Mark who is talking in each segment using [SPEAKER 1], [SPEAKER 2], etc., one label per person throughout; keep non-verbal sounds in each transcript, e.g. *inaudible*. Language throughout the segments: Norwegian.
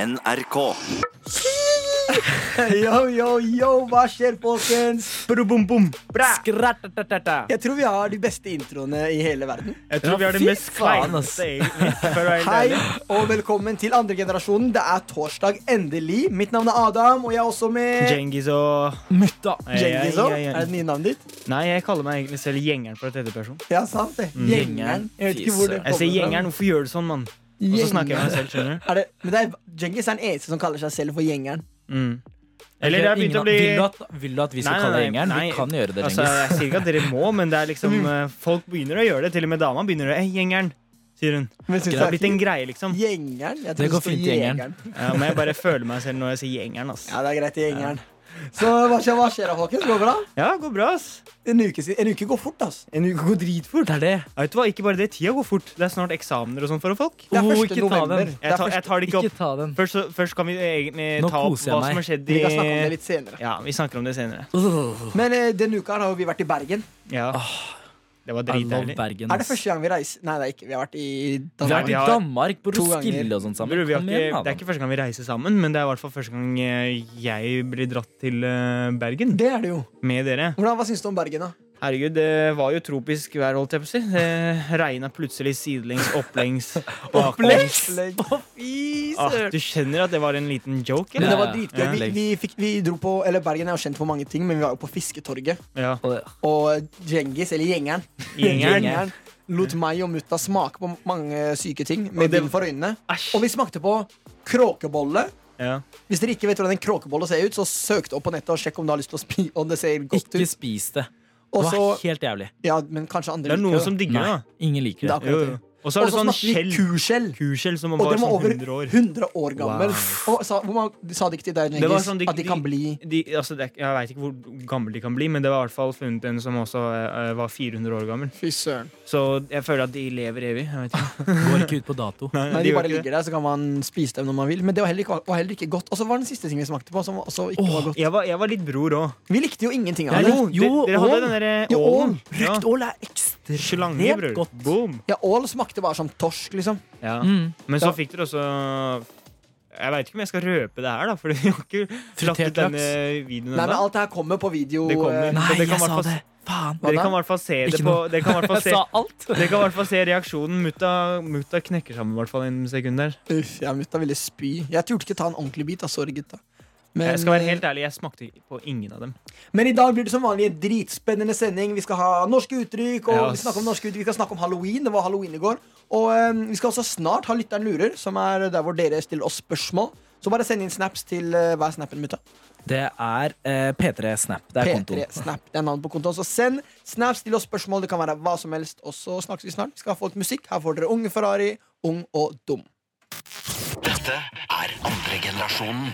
[SPEAKER 1] NRK.
[SPEAKER 2] *laughs* Yo, yo, yo, hva skjer, folkens?
[SPEAKER 3] Brum-bum-bum.
[SPEAKER 2] Bra!
[SPEAKER 3] Skratt-ta-ta-ta.
[SPEAKER 2] Jeg tror vi har de beste introene i hele verden.
[SPEAKER 3] Jeg tror
[SPEAKER 4] Ja,
[SPEAKER 3] vi har det
[SPEAKER 4] fy
[SPEAKER 3] mest
[SPEAKER 4] faen,
[SPEAKER 3] kleine
[SPEAKER 4] ass.
[SPEAKER 3] egentlig, for å være
[SPEAKER 4] *laughs*
[SPEAKER 3] helt
[SPEAKER 2] Hei
[SPEAKER 3] ærlig.
[SPEAKER 2] og velkommen til andregenerasjonen. Det er torsdag, endelig. Mitt navn er Adam, og jeg er også med
[SPEAKER 3] Djengis og
[SPEAKER 4] Mutta.
[SPEAKER 3] Ei, ei,
[SPEAKER 2] Djengis. også.
[SPEAKER 3] ei, ei.
[SPEAKER 2] Er det nye navnet ditt?
[SPEAKER 3] Nei, jeg kaller meg egentlig selv gjengeren fra tredjeperson.
[SPEAKER 2] Ja, sant det.
[SPEAKER 3] Mm.
[SPEAKER 2] Gjengeren. Jeg vet ikke hvor det
[SPEAKER 1] Fy søren.
[SPEAKER 3] Jeg sier
[SPEAKER 2] kommer
[SPEAKER 3] gjengeren, hvorfor gjør du sånn, mann?
[SPEAKER 2] fra.
[SPEAKER 3] Og så snakker jeg med
[SPEAKER 2] Gjengeren.
[SPEAKER 3] meg selv, skjønner du.
[SPEAKER 2] Er det, men det er, Djengis er den eneste som kaller seg selv for gjengeren.
[SPEAKER 4] *laughs*
[SPEAKER 3] Mm. Eller det har begynt å bli
[SPEAKER 4] vil, du at, vil du at vi skal
[SPEAKER 3] Nei, nei, nei,
[SPEAKER 4] kalle deg gjengeren?
[SPEAKER 3] nei.
[SPEAKER 4] Vi kan gjøre det,
[SPEAKER 3] Altså,
[SPEAKER 4] Djengis.
[SPEAKER 3] Jeg sier ikke at dere må, men
[SPEAKER 4] *laughs*
[SPEAKER 3] det er liksom eh, folk begynner å gjøre det. Til og med dama begynner å Ei, gjengeren, sier hun.
[SPEAKER 2] Men synes
[SPEAKER 3] Det har
[SPEAKER 2] jeg-
[SPEAKER 3] blitt en greie,
[SPEAKER 4] *laughs*
[SPEAKER 3] liksom.
[SPEAKER 2] Gjengeren? Jeg
[SPEAKER 4] Det
[SPEAKER 2] tror
[SPEAKER 4] går fint,
[SPEAKER 2] står
[SPEAKER 4] gjengeren.
[SPEAKER 3] Ja, men jeg bare føler meg selv når jeg sier gjengeren, ass.
[SPEAKER 2] Ja, det er greit, gjengeren. Så hva skjer, hva skjer da, folkens? Går det bra?
[SPEAKER 3] Ja, går bra, ass.
[SPEAKER 2] En uke, si- en uke går fort, altså.
[SPEAKER 3] En uke går dritfort.
[SPEAKER 4] Det er det.
[SPEAKER 3] Ja, vet du hva, ikke bare det, tida går fort. Det er snart eksamener og sånn for folk.
[SPEAKER 2] Det er
[SPEAKER 4] Oh,
[SPEAKER 2] 1.
[SPEAKER 4] ikke ta
[SPEAKER 2] november.
[SPEAKER 4] den.
[SPEAKER 2] Det er
[SPEAKER 3] Jeg, tar-
[SPEAKER 2] første-
[SPEAKER 3] jeg tar det ikke
[SPEAKER 4] Ikke
[SPEAKER 3] opp.
[SPEAKER 4] ta den.
[SPEAKER 3] Først, så- først kan vi egentlig
[SPEAKER 4] Nå
[SPEAKER 3] ta opp
[SPEAKER 4] koser jeg
[SPEAKER 3] hva som
[SPEAKER 4] meg.
[SPEAKER 3] har skjedd
[SPEAKER 2] Vi kan snakke om det
[SPEAKER 3] i
[SPEAKER 2] litt senere.
[SPEAKER 3] Ja, vi snakker om det senere.
[SPEAKER 4] Åh,
[SPEAKER 2] Men eh, denne uka her har vi vært i Bergen.
[SPEAKER 3] Ja. Det var
[SPEAKER 4] I love
[SPEAKER 3] dritdeilig.
[SPEAKER 4] Bergen.
[SPEAKER 2] Er det
[SPEAKER 4] ass.
[SPEAKER 2] første gang vi reiser Nei, det er ikke. Vi har vært i
[SPEAKER 4] Vi har
[SPEAKER 2] Danmark.
[SPEAKER 4] vært i
[SPEAKER 3] har-
[SPEAKER 4] Danmark, på
[SPEAKER 2] To ganger.
[SPEAKER 4] Roskilde og sånn sammen.
[SPEAKER 3] Bror, vi har
[SPEAKER 4] Kom
[SPEAKER 3] ikke,
[SPEAKER 4] igjen,
[SPEAKER 3] det er
[SPEAKER 4] Adam.
[SPEAKER 3] ikke første gang vi reiser sammen, men det er i hvert fall første gang eh, jeg blir dratt til eh, Bergen
[SPEAKER 2] Det er det jo.
[SPEAKER 3] med dere.
[SPEAKER 2] Hvordan, Hva syns du om Bergen, da?
[SPEAKER 3] Herregud, det var jo tropisk vær, holdt jeg på å si. Det *laughs* regna plutselig sidelengs, opplengs, baklengs.
[SPEAKER 2] Opplegg.
[SPEAKER 4] Fy
[SPEAKER 3] Ah,
[SPEAKER 4] søren.
[SPEAKER 3] du skjønner at det var en liten joke?
[SPEAKER 2] Men
[SPEAKER 3] Eller?
[SPEAKER 2] det var
[SPEAKER 4] Ja, ja.
[SPEAKER 2] dritgøy. Vi,
[SPEAKER 4] Opplegg.
[SPEAKER 2] vi, fikk, vi dro på Eller Bergen er jo kjent for mange ting, men vi var jo på Fisketorget.
[SPEAKER 3] Ja.
[SPEAKER 2] Og Djengis, eller gjengeren,
[SPEAKER 3] Gjengeren.
[SPEAKER 2] Gjengeren lot meg og mutta smake på mange syke ting med
[SPEAKER 3] Og det-
[SPEAKER 2] bind for øynene.
[SPEAKER 3] Æsj.
[SPEAKER 2] Og vi smakte på kråkebolle.
[SPEAKER 3] Ja.
[SPEAKER 2] Hvis dere ikke vet hvordan en kråkebolle ser ut, så søk det opp på nettet og sjekk om du har lyst til å spi om det ser godt
[SPEAKER 4] Ikke
[SPEAKER 2] ut.
[SPEAKER 4] spis det. Det
[SPEAKER 2] Og
[SPEAKER 4] var
[SPEAKER 2] så
[SPEAKER 4] helt jævlig.
[SPEAKER 2] Ja, men kanskje andre
[SPEAKER 3] Det er noen
[SPEAKER 2] det.
[SPEAKER 3] som digger
[SPEAKER 4] Nei,
[SPEAKER 3] det,
[SPEAKER 4] ingen liker
[SPEAKER 2] Det er
[SPEAKER 4] det.
[SPEAKER 3] da. Jo,
[SPEAKER 2] akkurat det.
[SPEAKER 3] jo. Og så
[SPEAKER 2] Og så
[SPEAKER 3] er det sånn
[SPEAKER 2] smakte
[SPEAKER 3] skjell.
[SPEAKER 2] vi kuskjell.
[SPEAKER 3] Kuskjell som
[SPEAKER 2] Og
[SPEAKER 3] var
[SPEAKER 2] den var
[SPEAKER 3] sånn
[SPEAKER 2] over
[SPEAKER 3] 100 år.
[SPEAKER 2] 100 år gammel. Og sa, hvor mange, de sa det ikke til deg,
[SPEAKER 3] Det var
[SPEAKER 2] Djengis,
[SPEAKER 3] sånn de-
[SPEAKER 2] at de kan bli
[SPEAKER 3] De, altså det, er- jeg veit ikke hvor gammel de kan bli, men det var i hvert fall funnet en som også eh, var 400 år gammel.
[SPEAKER 2] Fy søren.
[SPEAKER 3] Så jeg føler at de lever evig. Jeg vet ikke.
[SPEAKER 4] Går ikke ut på dato.
[SPEAKER 3] Nei,
[SPEAKER 2] Men de
[SPEAKER 3] gjør
[SPEAKER 2] bare
[SPEAKER 3] ikke det.
[SPEAKER 2] ligger der, så kan man spise dem når man vil. Men det var heller ikke, var heller ikke godt. Og så var det den siste ting vi smakte på, som også ikke var godt.
[SPEAKER 3] jeg var, jeg var litt bror òg.
[SPEAKER 2] Vi likte jo ingenting av
[SPEAKER 4] Jeg
[SPEAKER 2] det.
[SPEAKER 4] likte-
[SPEAKER 3] Jo, de-
[SPEAKER 4] jo,
[SPEAKER 3] dere hadde
[SPEAKER 4] ål.
[SPEAKER 3] den derre
[SPEAKER 2] Jo, ål.
[SPEAKER 3] ålen. Ja.
[SPEAKER 4] Brukt ål er ekstremt
[SPEAKER 3] Slange, bror.
[SPEAKER 4] godt.
[SPEAKER 3] Boom.
[SPEAKER 2] Ja, Ål smakte bare som torsk, liksom.
[SPEAKER 3] Ja.
[SPEAKER 4] Mm.
[SPEAKER 3] Men
[SPEAKER 2] Ja.
[SPEAKER 3] så fikk dere også Jeg veit ikke om jeg skal røpe det her, da, for vi har ikke lagt
[SPEAKER 4] Fritert
[SPEAKER 3] ut
[SPEAKER 4] laks.
[SPEAKER 3] denne videoen
[SPEAKER 2] Nei, men
[SPEAKER 3] ennå.
[SPEAKER 2] alt det her kommer på video.
[SPEAKER 3] Det kommer.
[SPEAKER 2] eh,
[SPEAKER 4] Nei,
[SPEAKER 3] det kan
[SPEAKER 4] jeg
[SPEAKER 3] man
[SPEAKER 4] sa
[SPEAKER 3] få-
[SPEAKER 4] det.
[SPEAKER 2] Hva
[SPEAKER 4] Faen.
[SPEAKER 3] Dere
[SPEAKER 2] da?
[SPEAKER 3] kan i hvert fall se det
[SPEAKER 4] Ikke
[SPEAKER 3] på Dere kan i hvert fall
[SPEAKER 4] *laughs* Jeg
[SPEAKER 3] se
[SPEAKER 4] sa alt.
[SPEAKER 3] dere kan i hvert fall se reaksjonen. Mutta, mutta knekker sammen i hvert fall en sekund der.
[SPEAKER 2] eh, Uff, jeg og mutta ville spy. Jeg turte ikke ta en ordentlig bit. da, Sorry, gutta. Men,
[SPEAKER 3] Jeg skal være helt ærlig, jeg smakte på ingen av dem.
[SPEAKER 2] men i dag blir det som vanlig en dritspennende sending. Vi skal ha norske uttrykk, og
[SPEAKER 3] Ja,
[SPEAKER 2] vi, snakker om norske uttrykk. vi skal snakke om halloween. Det var halloween i går. Og eh, vi skal også snart ha Lytteren lurer, som er der hvor dere stiller oss spørsmål. Så bare send inn snaps til eh, hva er snappen, mutta?
[SPEAKER 4] Det er eh, P3 Snap. Det er kontoen.
[SPEAKER 2] P3 Snap. Det er navnet på kontoen. Så send snaps, still oss spørsmål, det kan være hva som helst. Og så snakkes vi snart. Vi skal få litt musikk. Her får dere Unge Ferrari, Ung og Dum.
[SPEAKER 1] Dette er andregenerasjonen.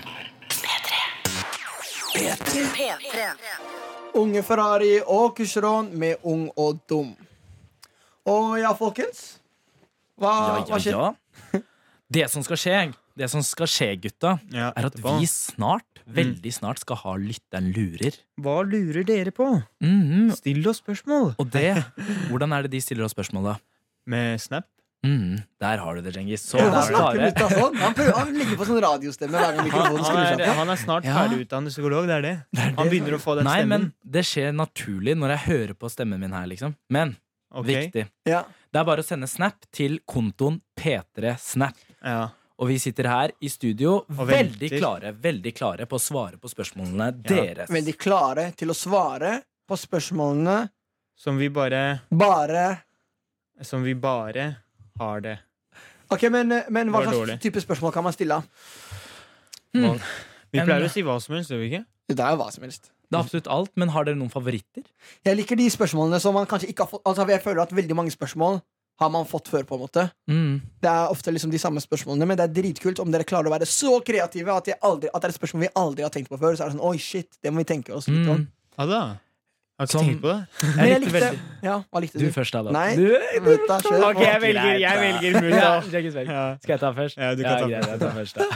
[SPEAKER 2] Unge Ferrari og Kusheron med Ung og Dum. Og ja, folkens. Hva,
[SPEAKER 4] Ja,
[SPEAKER 2] hva skjer?
[SPEAKER 4] ja, ja. *laughs* Det som skal skje, det som skal skje, gutta,
[SPEAKER 3] Ja,
[SPEAKER 4] er at
[SPEAKER 3] etterpå. Mm.
[SPEAKER 4] vi snart, veldig snart, skal ha Lytteren lurer.
[SPEAKER 3] Hva lurer dere på?
[SPEAKER 4] Mhm.
[SPEAKER 3] Still oss spørsmål.
[SPEAKER 4] Og det
[SPEAKER 3] *laughs*
[SPEAKER 4] Hvordan er det de stiller oss spørsmål, da?
[SPEAKER 3] Med Snap.
[SPEAKER 4] Mhm, der har du det, Djengis. Så
[SPEAKER 2] Ja, han
[SPEAKER 3] da
[SPEAKER 4] da
[SPEAKER 2] snakker
[SPEAKER 4] klare.
[SPEAKER 2] mutta sånn. Han, prøver, han ligger på sånn radiostemme hver gang
[SPEAKER 3] Han,
[SPEAKER 2] mikrofonen skrur
[SPEAKER 3] han,
[SPEAKER 2] seg
[SPEAKER 3] er,
[SPEAKER 2] på.
[SPEAKER 3] han er snart
[SPEAKER 4] Ja.
[SPEAKER 3] ferdigutdannet psykolog, det er det. Han begynner å få den
[SPEAKER 4] Nei,
[SPEAKER 3] stemmen.
[SPEAKER 4] men det skjer naturlig når jeg hører på stemmen min her, liksom. Men
[SPEAKER 3] Ok.
[SPEAKER 4] viktig.
[SPEAKER 2] Ja.
[SPEAKER 4] Det er bare å sende snap til kontoen P3 Snap.
[SPEAKER 3] Ja.
[SPEAKER 4] Og vi sitter her i studio
[SPEAKER 3] Og
[SPEAKER 4] veldig
[SPEAKER 3] venter.
[SPEAKER 4] klare veldig klare på å svare på spørsmålene
[SPEAKER 3] Ja.
[SPEAKER 4] deres.
[SPEAKER 2] Veldig klare til å svare på spørsmålene.
[SPEAKER 3] Som vi bare
[SPEAKER 2] Bare
[SPEAKER 3] Som vi bare har det.
[SPEAKER 2] Ok, Men, men hva
[SPEAKER 3] Det var
[SPEAKER 2] slags
[SPEAKER 3] dårlig.
[SPEAKER 2] type spørsmål kan man stille?
[SPEAKER 4] Hmm.
[SPEAKER 3] Vi
[SPEAKER 4] En-
[SPEAKER 3] pleier å si hva som helst, gjør vi ikke?
[SPEAKER 2] Det er jo hva som helst.
[SPEAKER 4] Det er absolutt alt, men har dere noen favoritter?
[SPEAKER 2] Jeg liker de spørsmålene som man kanskje ikke har fått Altså jeg føler at veldig mange spørsmål har man fått før på en måte
[SPEAKER 4] Mm.
[SPEAKER 2] Det er ofte liksom de samme spørsmålene Men det er dritkult om dere klarer å være så kreative At, jeg aldri, at det er et spørsmål vi aldri har tenkt på før Så er det sånn, oi shit, det må vi tenke oss litt om
[SPEAKER 4] Mm.
[SPEAKER 3] Ja da. Har ikke
[SPEAKER 4] Som-
[SPEAKER 3] tenkt på det.
[SPEAKER 2] Men jeg
[SPEAKER 3] likte
[SPEAKER 2] likte
[SPEAKER 3] veldig.
[SPEAKER 2] Ja, hva likte
[SPEAKER 4] Du
[SPEAKER 2] du?
[SPEAKER 4] først, da. da.
[SPEAKER 2] Nei,
[SPEAKER 5] Du,
[SPEAKER 2] vent da, kjør
[SPEAKER 5] Ok,
[SPEAKER 2] på.
[SPEAKER 5] jeg velger, jeg velger Mulla.
[SPEAKER 4] Ja, Jakkesberg.
[SPEAKER 3] Ja.
[SPEAKER 4] Skal jeg ta først?
[SPEAKER 3] Ja, du kan ta
[SPEAKER 4] greit, jeg tar
[SPEAKER 3] *laughs*
[SPEAKER 4] først da.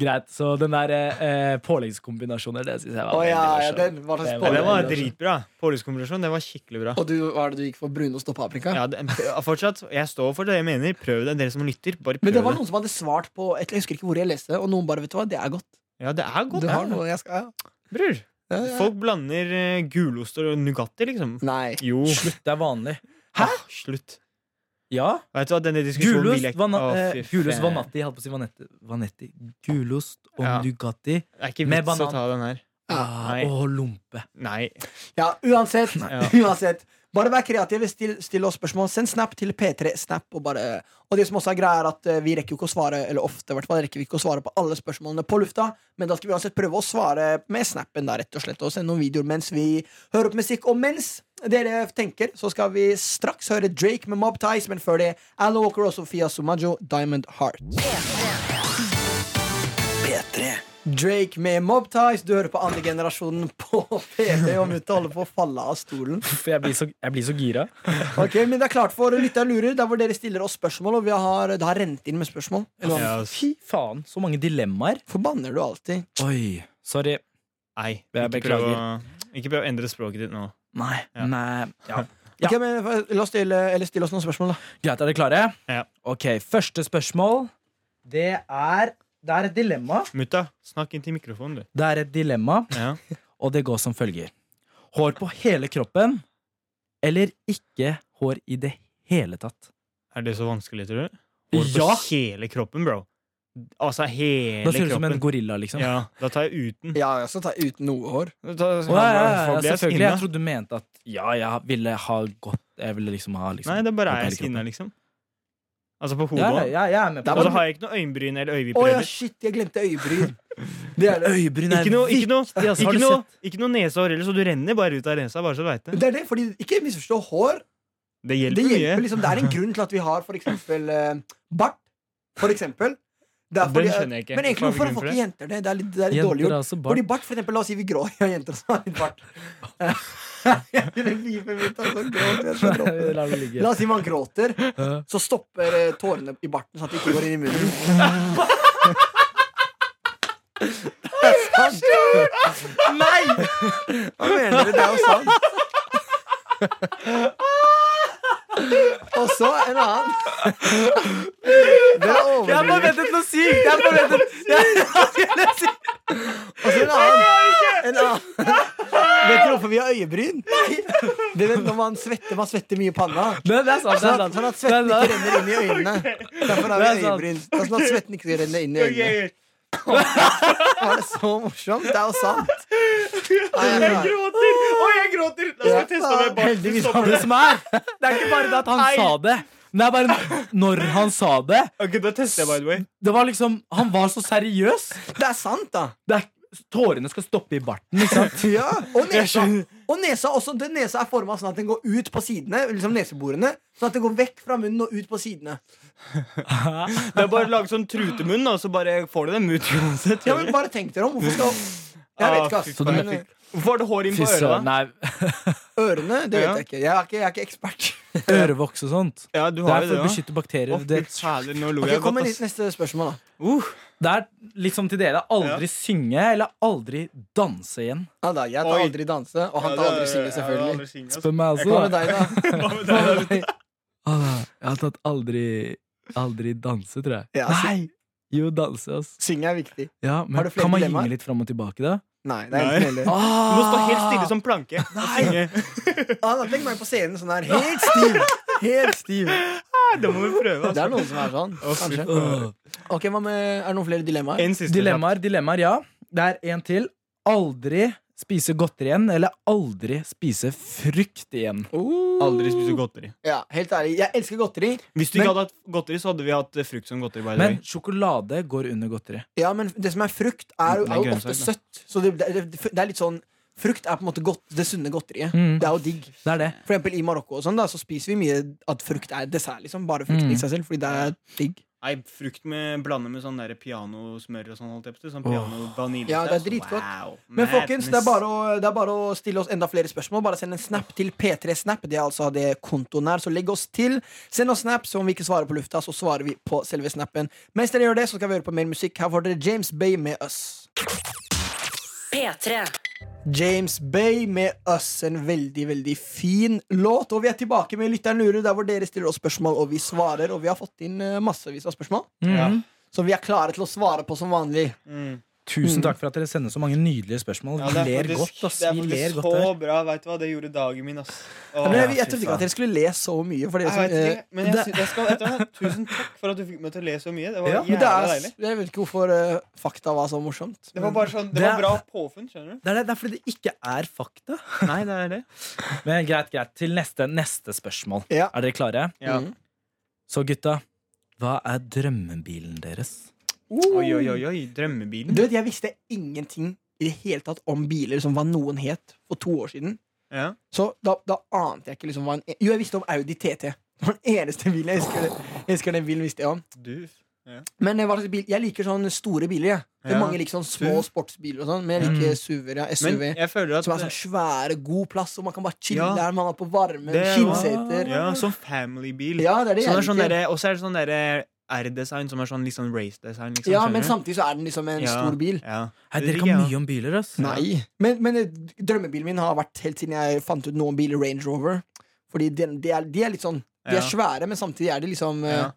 [SPEAKER 4] greit, så den der eh, påleggskombinasjoner, det syns jeg var
[SPEAKER 2] Å ja, ja,
[SPEAKER 4] veldig morsomt.
[SPEAKER 2] den var slags
[SPEAKER 4] Det
[SPEAKER 3] Ja, det var
[SPEAKER 2] pålegg.
[SPEAKER 3] dritbra. Pålivskombinasjon, det var skikkelig bra.
[SPEAKER 2] Og du, hva er det du gikk for? Brunost og paprika?
[SPEAKER 3] Ja, det, fortsatt, jeg står for det jeg mener. Prøv det, dere som lytter. Bare prøv
[SPEAKER 2] Men det
[SPEAKER 3] det.
[SPEAKER 2] var noen som hadde svart på et, Jeg husker ikke hvor jeg leste det, og noen bare vet du hva, det er godt.
[SPEAKER 3] Ja, det er godt.
[SPEAKER 2] Du har
[SPEAKER 3] Ja.
[SPEAKER 2] noe jeg skal ja.
[SPEAKER 3] Bror,
[SPEAKER 2] Ja, ja.
[SPEAKER 3] folk blander eh, gulost og Nugatti, liksom.
[SPEAKER 2] Nei.
[SPEAKER 3] Jo.
[SPEAKER 4] Slutt, det er vanlig.
[SPEAKER 3] Hæ? Ah, Slutt.
[SPEAKER 4] Ja.
[SPEAKER 3] Vet du hva, denne diskusjonen vil jeg
[SPEAKER 4] Gulost,
[SPEAKER 3] ikke
[SPEAKER 4] vana,
[SPEAKER 3] Å,
[SPEAKER 4] eh,
[SPEAKER 3] fy
[SPEAKER 4] gulost
[SPEAKER 3] faen.
[SPEAKER 4] vanatti, jeg holdt på å si vanetti. vanetti. Gulost og
[SPEAKER 3] Ja.
[SPEAKER 4] Nugatti.
[SPEAKER 3] Det er ikke
[SPEAKER 4] Med
[SPEAKER 3] vits å
[SPEAKER 4] banan.
[SPEAKER 3] ta den her.
[SPEAKER 4] Ah,
[SPEAKER 3] Nei.
[SPEAKER 4] og lompe.
[SPEAKER 3] Nei.
[SPEAKER 2] Ja, uansett.
[SPEAKER 3] Ja.
[SPEAKER 2] *laughs* uansett. Bare vær kreative, still, still oss spørsmål. Send snap til P3 Snap. Og, bare, og det som også er greia er at eh, vi rekker jo ikke å svare Eller ofte i hvert fall rekker vi ikke å svare på alle spørsmålene på lufta, men da skal vi uansett prøve å svare med snappen da, rett og slett, og sende noen videoer mens vi hører på musikk. Og mens dere tenker, så skal vi straks høre Drake med Mob Ties, men før det Alan Walker og Sofia Sumaggio, Diamond Heart.
[SPEAKER 1] P3
[SPEAKER 2] Drake med Mob Ties. Du hører på andre generasjonen på PT og mutta holder på å falle av stolen.
[SPEAKER 4] For jeg blir så, jeg blir så gira.
[SPEAKER 2] Ok, Men det er klart for lytteren lurer, der hvor dere stiller oss spørsmål, og vi har, det har rent inn med spørsmål. Eller hva?
[SPEAKER 3] Ja, ass.
[SPEAKER 4] Fy faen, så mange dilemmaer.
[SPEAKER 2] Forbanner du alltid?
[SPEAKER 4] Oi, sorry.
[SPEAKER 3] Nei.
[SPEAKER 4] Jeg
[SPEAKER 3] Ikke prøv, å, ikke prøv å endre språket ditt nå.
[SPEAKER 4] Nei.
[SPEAKER 3] Ja.
[SPEAKER 4] Nei. Ja. Ja.
[SPEAKER 2] Ok, men eh, La oss stille, eller stille oss noen spørsmål, da.
[SPEAKER 4] Greit, er dere klare?
[SPEAKER 3] Ja.
[SPEAKER 4] Ok, første spørsmål. Det er, det er et dilemma.
[SPEAKER 3] Mutta, snakk inn til mikrofonen, du.
[SPEAKER 4] Det er et dilemma,
[SPEAKER 3] Ja.
[SPEAKER 4] og det går som følger. Hår på hele kroppen, eller ikke hår i det hele tatt.
[SPEAKER 3] Er det så vanskelig, tror du? Hår på
[SPEAKER 4] Ja.
[SPEAKER 3] hele kroppen, bro. Altså hele
[SPEAKER 4] Da ser du ut som en
[SPEAKER 3] kroppen.
[SPEAKER 4] gorilla, liksom.
[SPEAKER 3] Ja, da tar jeg uten.
[SPEAKER 2] Ja, jeg skal ta uten noe hår.
[SPEAKER 4] Å, ja, ja,
[SPEAKER 3] Folk
[SPEAKER 4] ja,
[SPEAKER 3] blir
[SPEAKER 4] selvfølgelig. Jeg
[SPEAKER 3] skinna.
[SPEAKER 4] trodde du mente at ja, jeg ville ha godt Jeg ville liksom ha liksom,
[SPEAKER 3] Nei, det bare
[SPEAKER 4] hår på
[SPEAKER 3] er
[SPEAKER 4] hele
[SPEAKER 3] jeg skinna,
[SPEAKER 4] kroppen.
[SPEAKER 3] liksom. Altså på
[SPEAKER 4] Ja,
[SPEAKER 3] hodet.
[SPEAKER 4] ja, jeg er med på
[SPEAKER 2] Det
[SPEAKER 3] Og
[SPEAKER 4] det.
[SPEAKER 3] så har jeg ikke noe øyenbryn eller
[SPEAKER 2] Å
[SPEAKER 3] øyeviper
[SPEAKER 2] ja,
[SPEAKER 3] heller.
[SPEAKER 2] shit, jeg glemte øyebryn. Det er det.
[SPEAKER 4] Øyebryn er
[SPEAKER 3] Ikke noe, ikke, noe,
[SPEAKER 4] viktig, ass. Har
[SPEAKER 3] ikke,
[SPEAKER 4] du
[SPEAKER 3] noe,
[SPEAKER 4] sett?
[SPEAKER 3] ikke noe nesehår heller, så du renner bare ut av nesa. Bare så du vet det.
[SPEAKER 2] Det er det, fordi Ikke misforstå hår.
[SPEAKER 3] Det
[SPEAKER 2] Det
[SPEAKER 3] hjelper mye.
[SPEAKER 2] hjelper liksom, det er en grunn til at vi har for eksempel eh, bart. For eksempel. Det er
[SPEAKER 3] Den
[SPEAKER 2] fordi,
[SPEAKER 3] skjønner jeg ikke.
[SPEAKER 2] Men egentlig,
[SPEAKER 3] Hva er
[SPEAKER 2] hvorfor
[SPEAKER 3] grunnen
[SPEAKER 2] får
[SPEAKER 3] for det?
[SPEAKER 2] ikke jenter det? Det er litt, det er litt dårlig
[SPEAKER 4] Jenter
[SPEAKER 2] gjort.
[SPEAKER 4] er også
[SPEAKER 2] Fordi
[SPEAKER 4] barn.
[SPEAKER 2] bart, for eksempel, la oss si vi grå *laughs* ja, jenter som har litt *laughs* bart. Jeg ville pipe mitt, altså, gråt, jeg skal gråte.
[SPEAKER 4] La det ligge.
[SPEAKER 2] La oss si man gråter, så stopper eh, tårene i barten sånn at de ikke går inn i *laughs* munnen. Det er sant. Nei! Hva mener du? Det er jo *laughs* sant. Og så en annen. Det er
[SPEAKER 4] Jeg
[SPEAKER 2] overdrevet.
[SPEAKER 4] forventet noe sykt! Jeg
[SPEAKER 2] *laughs*
[SPEAKER 4] forventet
[SPEAKER 2] Og så en annen, en annen. Vet dere hvorfor vi har øyebryn? Det er når man svetter, man svetter mye i panna.
[SPEAKER 4] Nei, det er
[SPEAKER 2] Sånn
[SPEAKER 4] sant. Det
[SPEAKER 2] at,
[SPEAKER 4] er sant.
[SPEAKER 2] sånn at svetten
[SPEAKER 4] Det er
[SPEAKER 2] ikke renner inn i øynene.
[SPEAKER 3] *laughs*
[SPEAKER 2] Derfor har
[SPEAKER 4] Det
[SPEAKER 2] vi
[SPEAKER 4] er sant.
[SPEAKER 2] øyebryn. Det er Sånn at svetten ikke renner inn i
[SPEAKER 3] Ok,
[SPEAKER 2] øynene. Var det så morsomt? Det er jo sant. Nei,
[SPEAKER 3] Jeg
[SPEAKER 2] jeg-
[SPEAKER 3] gråter! Å, jeg gråter! Da skal jeg teste om jeg bare
[SPEAKER 2] Heldigvis
[SPEAKER 3] stopper
[SPEAKER 4] Det som er, *laughs* det er ikke bare det at han
[SPEAKER 3] Nei.
[SPEAKER 4] sa det. Det er bare når han sa det.
[SPEAKER 3] Ok, da tester jeg, by the way.
[SPEAKER 4] Det var liksom, Han var så seriøs.
[SPEAKER 2] Det er sant, da.
[SPEAKER 4] Det er, tårene skal stoppe i barten. liksom. *laughs* Ikke sant?
[SPEAKER 2] Ja, og
[SPEAKER 3] Jeg
[SPEAKER 2] nesa. Og nesa, også, den nesa er forma sånn at den går ut på sidene. Liksom neseborene Sånn at den går vekk fra munnen og ut på sidene.
[SPEAKER 3] Det er bare å lage sånn trutemunn, og så bare får du dem ut uansett.
[SPEAKER 2] Ja, men Bare tenk dere om. Hvorfor skal Jeg vet ikke,
[SPEAKER 3] Ah, fy
[SPEAKER 2] ass.
[SPEAKER 3] faen.
[SPEAKER 2] Men,
[SPEAKER 3] Hvorfor har du hår inn
[SPEAKER 4] Fy
[SPEAKER 3] på
[SPEAKER 4] søren.
[SPEAKER 3] øret? da?
[SPEAKER 4] Nei,
[SPEAKER 2] Ørene? Det
[SPEAKER 3] Ja.
[SPEAKER 2] vet jeg ikke. Jeg er ikke, jeg er ikke ekspert.
[SPEAKER 4] *laughs* ørevoks og sånt.
[SPEAKER 3] Ja, du
[SPEAKER 4] Det
[SPEAKER 3] har jo
[SPEAKER 4] er for å
[SPEAKER 3] det, da.
[SPEAKER 4] beskytte bakterier.
[SPEAKER 3] Å, fy
[SPEAKER 4] Det,
[SPEAKER 3] fader, nå lo
[SPEAKER 2] Ok,
[SPEAKER 3] jeg
[SPEAKER 2] Kom med
[SPEAKER 3] godt,
[SPEAKER 2] litt
[SPEAKER 3] ass.
[SPEAKER 2] neste spørsmål, da.
[SPEAKER 3] Uh,
[SPEAKER 4] det er liksom til dere. Aldri synge eller aldri danse igjen.
[SPEAKER 2] Ja, da jeg tar
[SPEAKER 3] Oi.
[SPEAKER 2] aldri danse, og han tar aldri synge, selvfølgelig.
[SPEAKER 4] Spør meg
[SPEAKER 2] Hva
[SPEAKER 4] altså.
[SPEAKER 2] med deg,
[SPEAKER 3] *laughs*
[SPEAKER 4] *laughs*
[SPEAKER 2] da?
[SPEAKER 4] Jeg har tatt aldri Aldri danse, tror jeg.
[SPEAKER 2] Ja,
[SPEAKER 3] altså.
[SPEAKER 4] Nei! Jo, danse, ass.
[SPEAKER 2] Synge er viktig.
[SPEAKER 4] Ja, men
[SPEAKER 2] Har du flere
[SPEAKER 4] kan man
[SPEAKER 2] dilemmaer?
[SPEAKER 4] gynge litt fram og tilbake, da?
[SPEAKER 2] Nei, det er enten eller.
[SPEAKER 4] Ah!
[SPEAKER 3] Du må stå helt stille som planke. og synge.
[SPEAKER 2] Ah, da, Legg meg på scenen sånn her, helt stiv. Helt stiv.
[SPEAKER 3] Nei, Det må vi prøve.
[SPEAKER 2] Det
[SPEAKER 3] Altså.
[SPEAKER 2] er noen som er sånn.
[SPEAKER 3] fy
[SPEAKER 2] Kanskje.
[SPEAKER 3] faen.
[SPEAKER 2] Ok, hva med, Er det noen flere dilemmaer?
[SPEAKER 3] En siste.
[SPEAKER 4] Dilemmaer, dilemmaer, ja. Det er en til. Aldri spise godteri igjen, eller aldri spise frukt igjen.
[SPEAKER 3] kjapt. Aldri spise godteri.
[SPEAKER 2] Ja, Helt ærlig, jeg elsker godteri.
[SPEAKER 3] Hvis du
[SPEAKER 4] Men-
[SPEAKER 3] ikke hadde hatt godteri, så hadde vi hatt eh, frukt som godteri. By the
[SPEAKER 4] Men
[SPEAKER 3] way.
[SPEAKER 4] sjokolade går under godteri.
[SPEAKER 2] Ja, Men det som er frukt, er jo,
[SPEAKER 3] Det er
[SPEAKER 2] er jo
[SPEAKER 3] grønnsak,
[SPEAKER 2] ofte
[SPEAKER 3] da.
[SPEAKER 2] søtt. Så det, det, det, det er litt sånn Frukt er på en måte godt, det sunne godteriet.
[SPEAKER 4] Mm.
[SPEAKER 2] Det er jo digg.
[SPEAKER 4] Det er det.
[SPEAKER 2] For eksempel i Marokko og sånn da, så spiser vi mye at frukt er dessert. liksom Bare frukt
[SPEAKER 4] Mm.
[SPEAKER 2] i seg selv, fordi det er digg.
[SPEAKER 3] Nei, frukt med blande med sånn der pianosmør og sånn. holdt jeg på å si, Sånn
[SPEAKER 4] Åh.
[SPEAKER 3] piano vaniljesaus.
[SPEAKER 2] Ja, det er dritgodt.
[SPEAKER 3] Wow.
[SPEAKER 2] Men folkens, det er, bare å, det er bare å stille oss enda flere spørsmål. Bare send en snap til P3snap. Det er altså det kontoen her. Så legg oss til. Send oss snap, så om vi ikke svarer på lufta, så svarer vi på selve snappen. Mens dere gjør det, så skal vi høre på mer musikk. Her får dere James Bay med Us.
[SPEAKER 5] P3.
[SPEAKER 2] James Bay med Us. En veldig, veldig fin låt. Og vi er tilbake med Lytteren lurer, der hvor dere stiller oss spørsmål, og vi svarer. Og vi har fått inn eh, massevis av spørsmål,
[SPEAKER 3] Ja.
[SPEAKER 2] som vi er klare til å svare på som vanlig.
[SPEAKER 3] Mm.
[SPEAKER 4] Tusen takk for at dere sender så mange nydelige spørsmål.
[SPEAKER 3] Ja,
[SPEAKER 4] Vi
[SPEAKER 3] det er
[SPEAKER 4] ler
[SPEAKER 3] faktisk-
[SPEAKER 4] godt. ass.
[SPEAKER 3] Det er
[SPEAKER 4] Vi ler
[SPEAKER 3] faktisk
[SPEAKER 4] godt
[SPEAKER 3] så
[SPEAKER 4] her.
[SPEAKER 3] bra. Vet du hva, det gjorde dagen min, ass. Åh.
[SPEAKER 2] Ja, men jeg, jeg,
[SPEAKER 4] Ja, fy
[SPEAKER 2] trodde ikke at dere skulle le så mye. For dere
[SPEAKER 3] Jeg
[SPEAKER 2] som,
[SPEAKER 3] vet
[SPEAKER 2] eh,
[SPEAKER 3] ikke, men jeg,
[SPEAKER 4] det-
[SPEAKER 3] sy- jeg skal, vet du hva, Tusen takk for at du fikk meg til å le så mye. Det var
[SPEAKER 4] Ja,
[SPEAKER 2] Men
[SPEAKER 3] jævla
[SPEAKER 2] det er,
[SPEAKER 3] deilig.
[SPEAKER 2] jeg vet ikke hvorfor eh, fakta var så morsomt.
[SPEAKER 3] Det var bare sånn, det
[SPEAKER 4] Det
[SPEAKER 3] var
[SPEAKER 4] er-
[SPEAKER 3] bra påfunn, skjønner
[SPEAKER 4] Det er, det, det er fordi det ikke er fakta.
[SPEAKER 3] du. Nei, det er det.
[SPEAKER 4] Men greit, greit. Til neste, neste spørsmål.
[SPEAKER 2] Ja.
[SPEAKER 4] Er dere klare?
[SPEAKER 3] Ja.
[SPEAKER 2] Mhm.
[SPEAKER 4] Så gutta, hva er drømmebilen deres?
[SPEAKER 3] Oi, oi, oi, oi, drømmebilen.
[SPEAKER 2] Du vet, Jeg visste ingenting i det hele tatt om biler, som hva noen het for to år siden.
[SPEAKER 3] Ja.
[SPEAKER 2] Så da, da ante jeg ikke liksom hva en Jo, jeg visste om Audi TT. Det var den eneste bilen jeg husker. Jeg husker den bilen visste jeg om
[SPEAKER 3] Du.
[SPEAKER 2] Men eh, hva slags bil? jeg liker sånne store biler. Jeg. Det er
[SPEAKER 3] Ja.
[SPEAKER 2] Mange liker sånne små
[SPEAKER 3] SUV.
[SPEAKER 2] sportsbiler og sånn, men jeg liker SUV-er. Ja,
[SPEAKER 3] Men
[SPEAKER 2] SUV.
[SPEAKER 3] jeg føler at
[SPEAKER 2] Som er sånn svære, god plass, og man kan bare chille
[SPEAKER 3] Ja.
[SPEAKER 2] der. Man er på varmen,
[SPEAKER 3] Det er-
[SPEAKER 2] skinnseter.
[SPEAKER 3] Ja, sånn familybil.
[SPEAKER 2] Ja, det er det
[SPEAKER 3] Så det er
[SPEAKER 2] jeg
[SPEAKER 3] sånn
[SPEAKER 2] liker.
[SPEAKER 3] derre- Og så er det sånn derre R-design som er sånn litt sånn race-design. Liksom,
[SPEAKER 2] Ja,
[SPEAKER 3] skjønner
[SPEAKER 2] men
[SPEAKER 3] du?
[SPEAKER 2] samtidig så er den liksom en
[SPEAKER 3] Ja.
[SPEAKER 2] stor bil.
[SPEAKER 3] Ja.
[SPEAKER 4] Hei,
[SPEAKER 3] Det
[SPEAKER 4] dere
[SPEAKER 3] digger
[SPEAKER 4] kan
[SPEAKER 3] jeg.
[SPEAKER 4] mye om biler, ass.
[SPEAKER 2] Nei. Men, men eh, drømmebilen min har vært helt siden jeg fant ut noe om biler Range Rover. Fordi den- de er, de er litt sånn De er
[SPEAKER 3] Ja.
[SPEAKER 2] svære, men samtidig er de liksom eh,
[SPEAKER 3] Ja.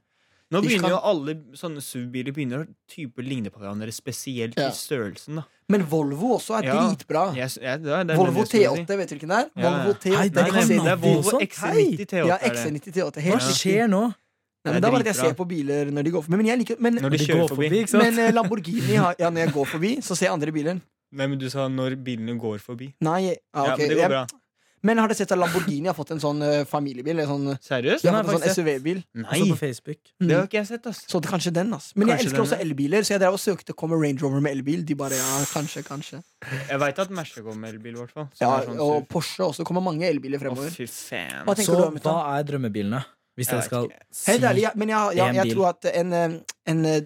[SPEAKER 3] Nå
[SPEAKER 2] de
[SPEAKER 3] begynner
[SPEAKER 2] kan-
[SPEAKER 3] jo alle sånne SUV-biler Begynner å type ligne på hverandre, spesielt
[SPEAKER 2] Ja.
[SPEAKER 3] i størrelsen. da
[SPEAKER 2] Men Volvo også er
[SPEAKER 3] Ja.
[SPEAKER 2] dritbra.
[SPEAKER 4] Ah.
[SPEAKER 3] jeg, s- jeg, det er- det er
[SPEAKER 2] Volvo
[SPEAKER 3] det jeg skulle
[SPEAKER 2] T8, vet du hvilken det er?
[SPEAKER 3] Ja, ja.
[SPEAKER 2] Volvo T8
[SPEAKER 4] Hei,
[SPEAKER 3] Nei,
[SPEAKER 4] det
[SPEAKER 3] nei,
[SPEAKER 4] er
[SPEAKER 3] nei, det er Volvo
[SPEAKER 4] Volvo
[SPEAKER 3] XC90
[SPEAKER 4] Hei!
[SPEAKER 3] T8.
[SPEAKER 2] Ja,
[SPEAKER 3] er det.
[SPEAKER 2] XC90 T8.
[SPEAKER 4] Hva
[SPEAKER 2] Helt riktig.
[SPEAKER 4] skjer nå?
[SPEAKER 2] Nei,
[SPEAKER 3] Det er
[SPEAKER 2] men det er bare at jeg
[SPEAKER 3] dritbra.
[SPEAKER 2] ser på biler når de går forbi. Men jeg liker Men,
[SPEAKER 3] Når de
[SPEAKER 4] De
[SPEAKER 3] kjører
[SPEAKER 4] går
[SPEAKER 3] forbi.
[SPEAKER 4] forbi, ikke sant?
[SPEAKER 2] men eh, Lamborghini har, ja, Når jeg går forbi, så ser jeg andre biler.
[SPEAKER 3] Nei, men du sa når bilene går forbi.
[SPEAKER 2] Nei, ja,
[SPEAKER 3] Ja,
[SPEAKER 2] ok.
[SPEAKER 3] men det går bra.
[SPEAKER 2] Jeg, men har dere sett at Lamborghini har fått en sånn eh, familiebil? En sånn,
[SPEAKER 3] Seriøst?
[SPEAKER 2] de har
[SPEAKER 4] har
[SPEAKER 2] fått en sånn
[SPEAKER 4] faktisk sett.
[SPEAKER 2] SUV-bil.
[SPEAKER 3] Nei,
[SPEAKER 4] Også på Facebook.
[SPEAKER 2] Mm.
[SPEAKER 3] det har ikke jeg sett, ass.
[SPEAKER 2] Så det er kanskje den, ass. Men jeg
[SPEAKER 3] Kanskje
[SPEAKER 2] elsker
[SPEAKER 3] den,
[SPEAKER 2] også
[SPEAKER 3] ja.
[SPEAKER 2] elbiler, så jeg drev og søkte kommer Range Rover med elbil. De bare, ja, kanskje, kanskje
[SPEAKER 3] Jeg veit at Merca går med elbil, i hvert fall. som
[SPEAKER 2] ja,
[SPEAKER 3] er sånn
[SPEAKER 2] Og
[SPEAKER 3] SUV.
[SPEAKER 2] Porsche også. kommer mange elbiler
[SPEAKER 3] Å,
[SPEAKER 2] fremover.
[SPEAKER 3] fy faen.
[SPEAKER 2] Hva
[SPEAKER 4] Så
[SPEAKER 2] tenker du om
[SPEAKER 4] hva
[SPEAKER 2] det?
[SPEAKER 4] er drømmebilene? Hvis
[SPEAKER 3] Jeg
[SPEAKER 4] dere
[SPEAKER 3] vet
[SPEAKER 4] skal
[SPEAKER 3] ikke.
[SPEAKER 4] si
[SPEAKER 2] Helt ærlig, ja, men jeg, jeg,
[SPEAKER 4] En
[SPEAKER 2] jeg
[SPEAKER 4] bil.
[SPEAKER 2] tror at en, eh, en eh,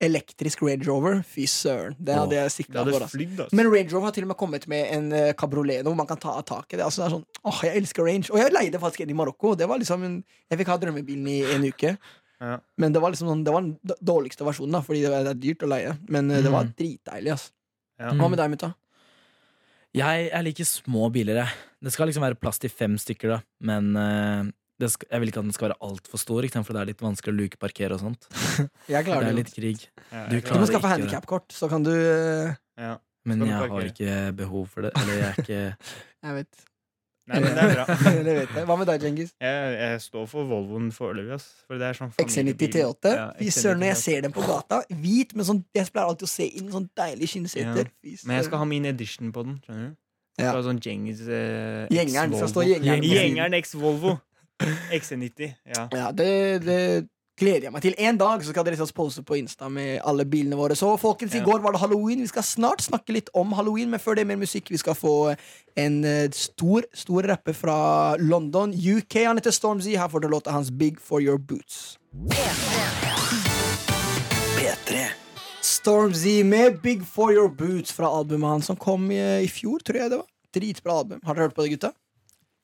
[SPEAKER 2] elektrisk Range Rover Fy søren, det hadde jeg
[SPEAKER 3] Det
[SPEAKER 2] sikta for.
[SPEAKER 3] hadde
[SPEAKER 2] ass.
[SPEAKER 3] flydd, ass.
[SPEAKER 2] Men Range Rover har til og med kommet med en eh, kabriolet hvor man kan ta tak i det. Altså, det er sånn, åh, jeg elsker Range. Og jeg leide faktisk en i Marokko. Det var liksom en, jeg fikk ha drømmebilen i en uke.
[SPEAKER 3] Ja.
[SPEAKER 2] Men det var liksom sånn, det var den d- dårligste versjonen, da fordi det var- det er dyrt å leie. Men
[SPEAKER 3] Mm.
[SPEAKER 2] eh, det var dritdeilig. ass.
[SPEAKER 3] Ja.
[SPEAKER 2] Hva med deg, mutta?
[SPEAKER 4] Jeg, jeg liker små biler, jeg. Det skal liksom være plass til fem stykker, da. Men eh, det skal, jeg vil ikke at den skal være altfor stor, ikke sant, for det er litt vanskelig å lukeparkere og sånt.
[SPEAKER 2] Jeg
[SPEAKER 4] Det
[SPEAKER 2] klarer
[SPEAKER 4] er
[SPEAKER 2] det.
[SPEAKER 4] litt krig.
[SPEAKER 3] Ja,
[SPEAKER 4] Du
[SPEAKER 3] jeg
[SPEAKER 2] Du
[SPEAKER 4] kan-
[SPEAKER 3] klarer
[SPEAKER 2] må
[SPEAKER 3] det.
[SPEAKER 2] skaffe
[SPEAKER 4] ikke-
[SPEAKER 2] handikapkort, så kan du eh,
[SPEAKER 3] Ja.
[SPEAKER 4] Men
[SPEAKER 3] Skal du
[SPEAKER 4] jeg har
[SPEAKER 3] parkere?
[SPEAKER 4] ikke behov for det. Eller jeg er ikke
[SPEAKER 2] Jeg *laughs* vet.
[SPEAKER 3] Nei, men det
[SPEAKER 2] *laughs*
[SPEAKER 3] er bra. *laughs*
[SPEAKER 2] det vet jeg. Hva med deg, Djengis?
[SPEAKER 3] Jeg, jeg står for Volvoen foreløpig, ass. For det er sånn
[SPEAKER 2] XC90
[SPEAKER 3] familiebil.
[SPEAKER 2] T8.
[SPEAKER 3] Ja,
[SPEAKER 2] Fy
[SPEAKER 3] XC90
[SPEAKER 2] søren, når jeg
[SPEAKER 3] T8.
[SPEAKER 2] ser den på gata, hvit, men sånn, jeg pleier alltid å se inn sånn deilig skinnseter. Fy
[SPEAKER 3] Men jeg skal
[SPEAKER 2] søren.
[SPEAKER 3] ha min edition på den. skjønner du?
[SPEAKER 2] Ja.
[SPEAKER 3] Jeg skal ha sånn Jengis eh,
[SPEAKER 2] Gjengeren. Det skal stå
[SPEAKER 3] X-Volvo.
[SPEAKER 2] gjengeren. på siden.
[SPEAKER 3] Gjengeren X Volvo. XC90. Ja.
[SPEAKER 2] Ja, det, det gleder jeg meg til. En dag så skal dere se oss pose på Insta med alle bilene våre. Så folkens, i
[SPEAKER 3] Ja.
[SPEAKER 2] går var det halloween. Vi skal snart snakke litt om halloween, men før det mer musikk. Vi skal få en eh, stor, stor rapper fra London, UK. Han heter Stormzy. Her får du låta hans Big For Your Boots.
[SPEAKER 1] P3
[SPEAKER 2] Stormzy med Big For Your Boots fra albumet hans som kom i, i fjor, tror jeg det var. Dritbra album. Har dere hørt på det, gutta?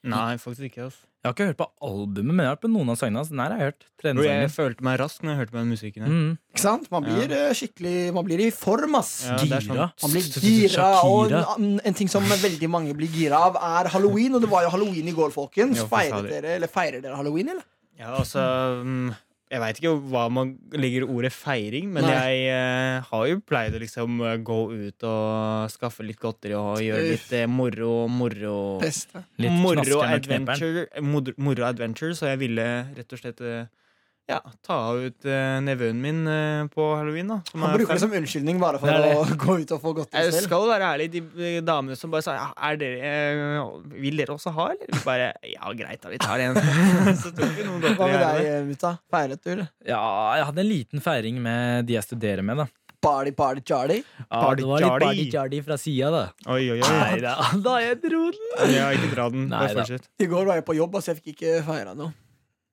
[SPEAKER 3] Nei, faktisk ikke. ass
[SPEAKER 4] Jeg har ikke hørt på albumet, men jeg har hørt på noen av sangene hans. Den her har jeg hørt. Tredje
[SPEAKER 3] Bro, jeg
[SPEAKER 4] sangen.
[SPEAKER 3] følte meg rask når jeg hørte på den musikken. her
[SPEAKER 4] Mm.
[SPEAKER 2] Ikke sant? Man blir eh, skikkelig Man blir i form, ass.
[SPEAKER 3] Ja, det er sånn-
[SPEAKER 4] Gira.
[SPEAKER 2] Man blir gira,
[SPEAKER 4] Shakira.
[SPEAKER 2] og en, en ting som veldig mange blir gira av, er halloween. Og det var jo halloween i går, folkens.
[SPEAKER 3] Ja, for
[SPEAKER 2] Feirer
[SPEAKER 3] fader.
[SPEAKER 2] dere, eller feirer dere halloween, eller?
[SPEAKER 3] Ja, altså mm, Jeg veit ikke hva man legger i ordet feiring, men
[SPEAKER 2] Nei.
[SPEAKER 3] jeg eh, har jo pleid å liksom eh, gå ut og skaffe litt godteri og gjøre
[SPEAKER 2] Uff.
[SPEAKER 3] litt eh, moro moro
[SPEAKER 2] Beste.
[SPEAKER 4] Litt
[SPEAKER 3] Moro
[SPEAKER 4] knaskende kneperen.
[SPEAKER 3] adventure, mod- moro adventure, så jeg ville rett og slett eh, ja, ta ut eh, nevøen min eh, på halloween. da som
[SPEAKER 2] Han
[SPEAKER 3] er
[SPEAKER 2] bruker det
[SPEAKER 3] fem.
[SPEAKER 2] som unnskyldning bare for
[SPEAKER 3] Det er
[SPEAKER 2] å *laughs* gå ut og få godteri
[SPEAKER 3] Jeg
[SPEAKER 2] selv.
[SPEAKER 3] skal være ærlig, de eh, damene som bare sa «Ja, er dere, eh, Vil dere også ha, eller? Vi Bare, ja, greit, da, vi tar en. *laughs* så tok vi noen
[SPEAKER 2] Hva
[SPEAKER 3] godteri.
[SPEAKER 2] med
[SPEAKER 3] her og der.
[SPEAKER 2] deg, mutta? Feiret du, eller?
[SPEAKER 4] Ja, jeg hadde en liten feiring med de jeg studerer med, da.
[SPEAKER 2] Party, party, chardy?
[SPEAKER 4] Ja, det var litt
[SPEAKER 3] Party-jardy.
[SPEAKER 4] party-jardy fra sida, da.
[SPEAKER 3] Oi, oi, oi.
[SPEAKER 4] Nei *laughs* da, da jeg dro den!
[SPEAKER 3] Ja, ikke dra den.
[SPEAKER 4] Nei
[SPEAKER 3] Bare
[SPEAKER 4] da.
[SPEAKER 3] fortsett.
[SPEAKER 2] altså, I går var jeg på jobb, så jeg fikk ikke feira noe.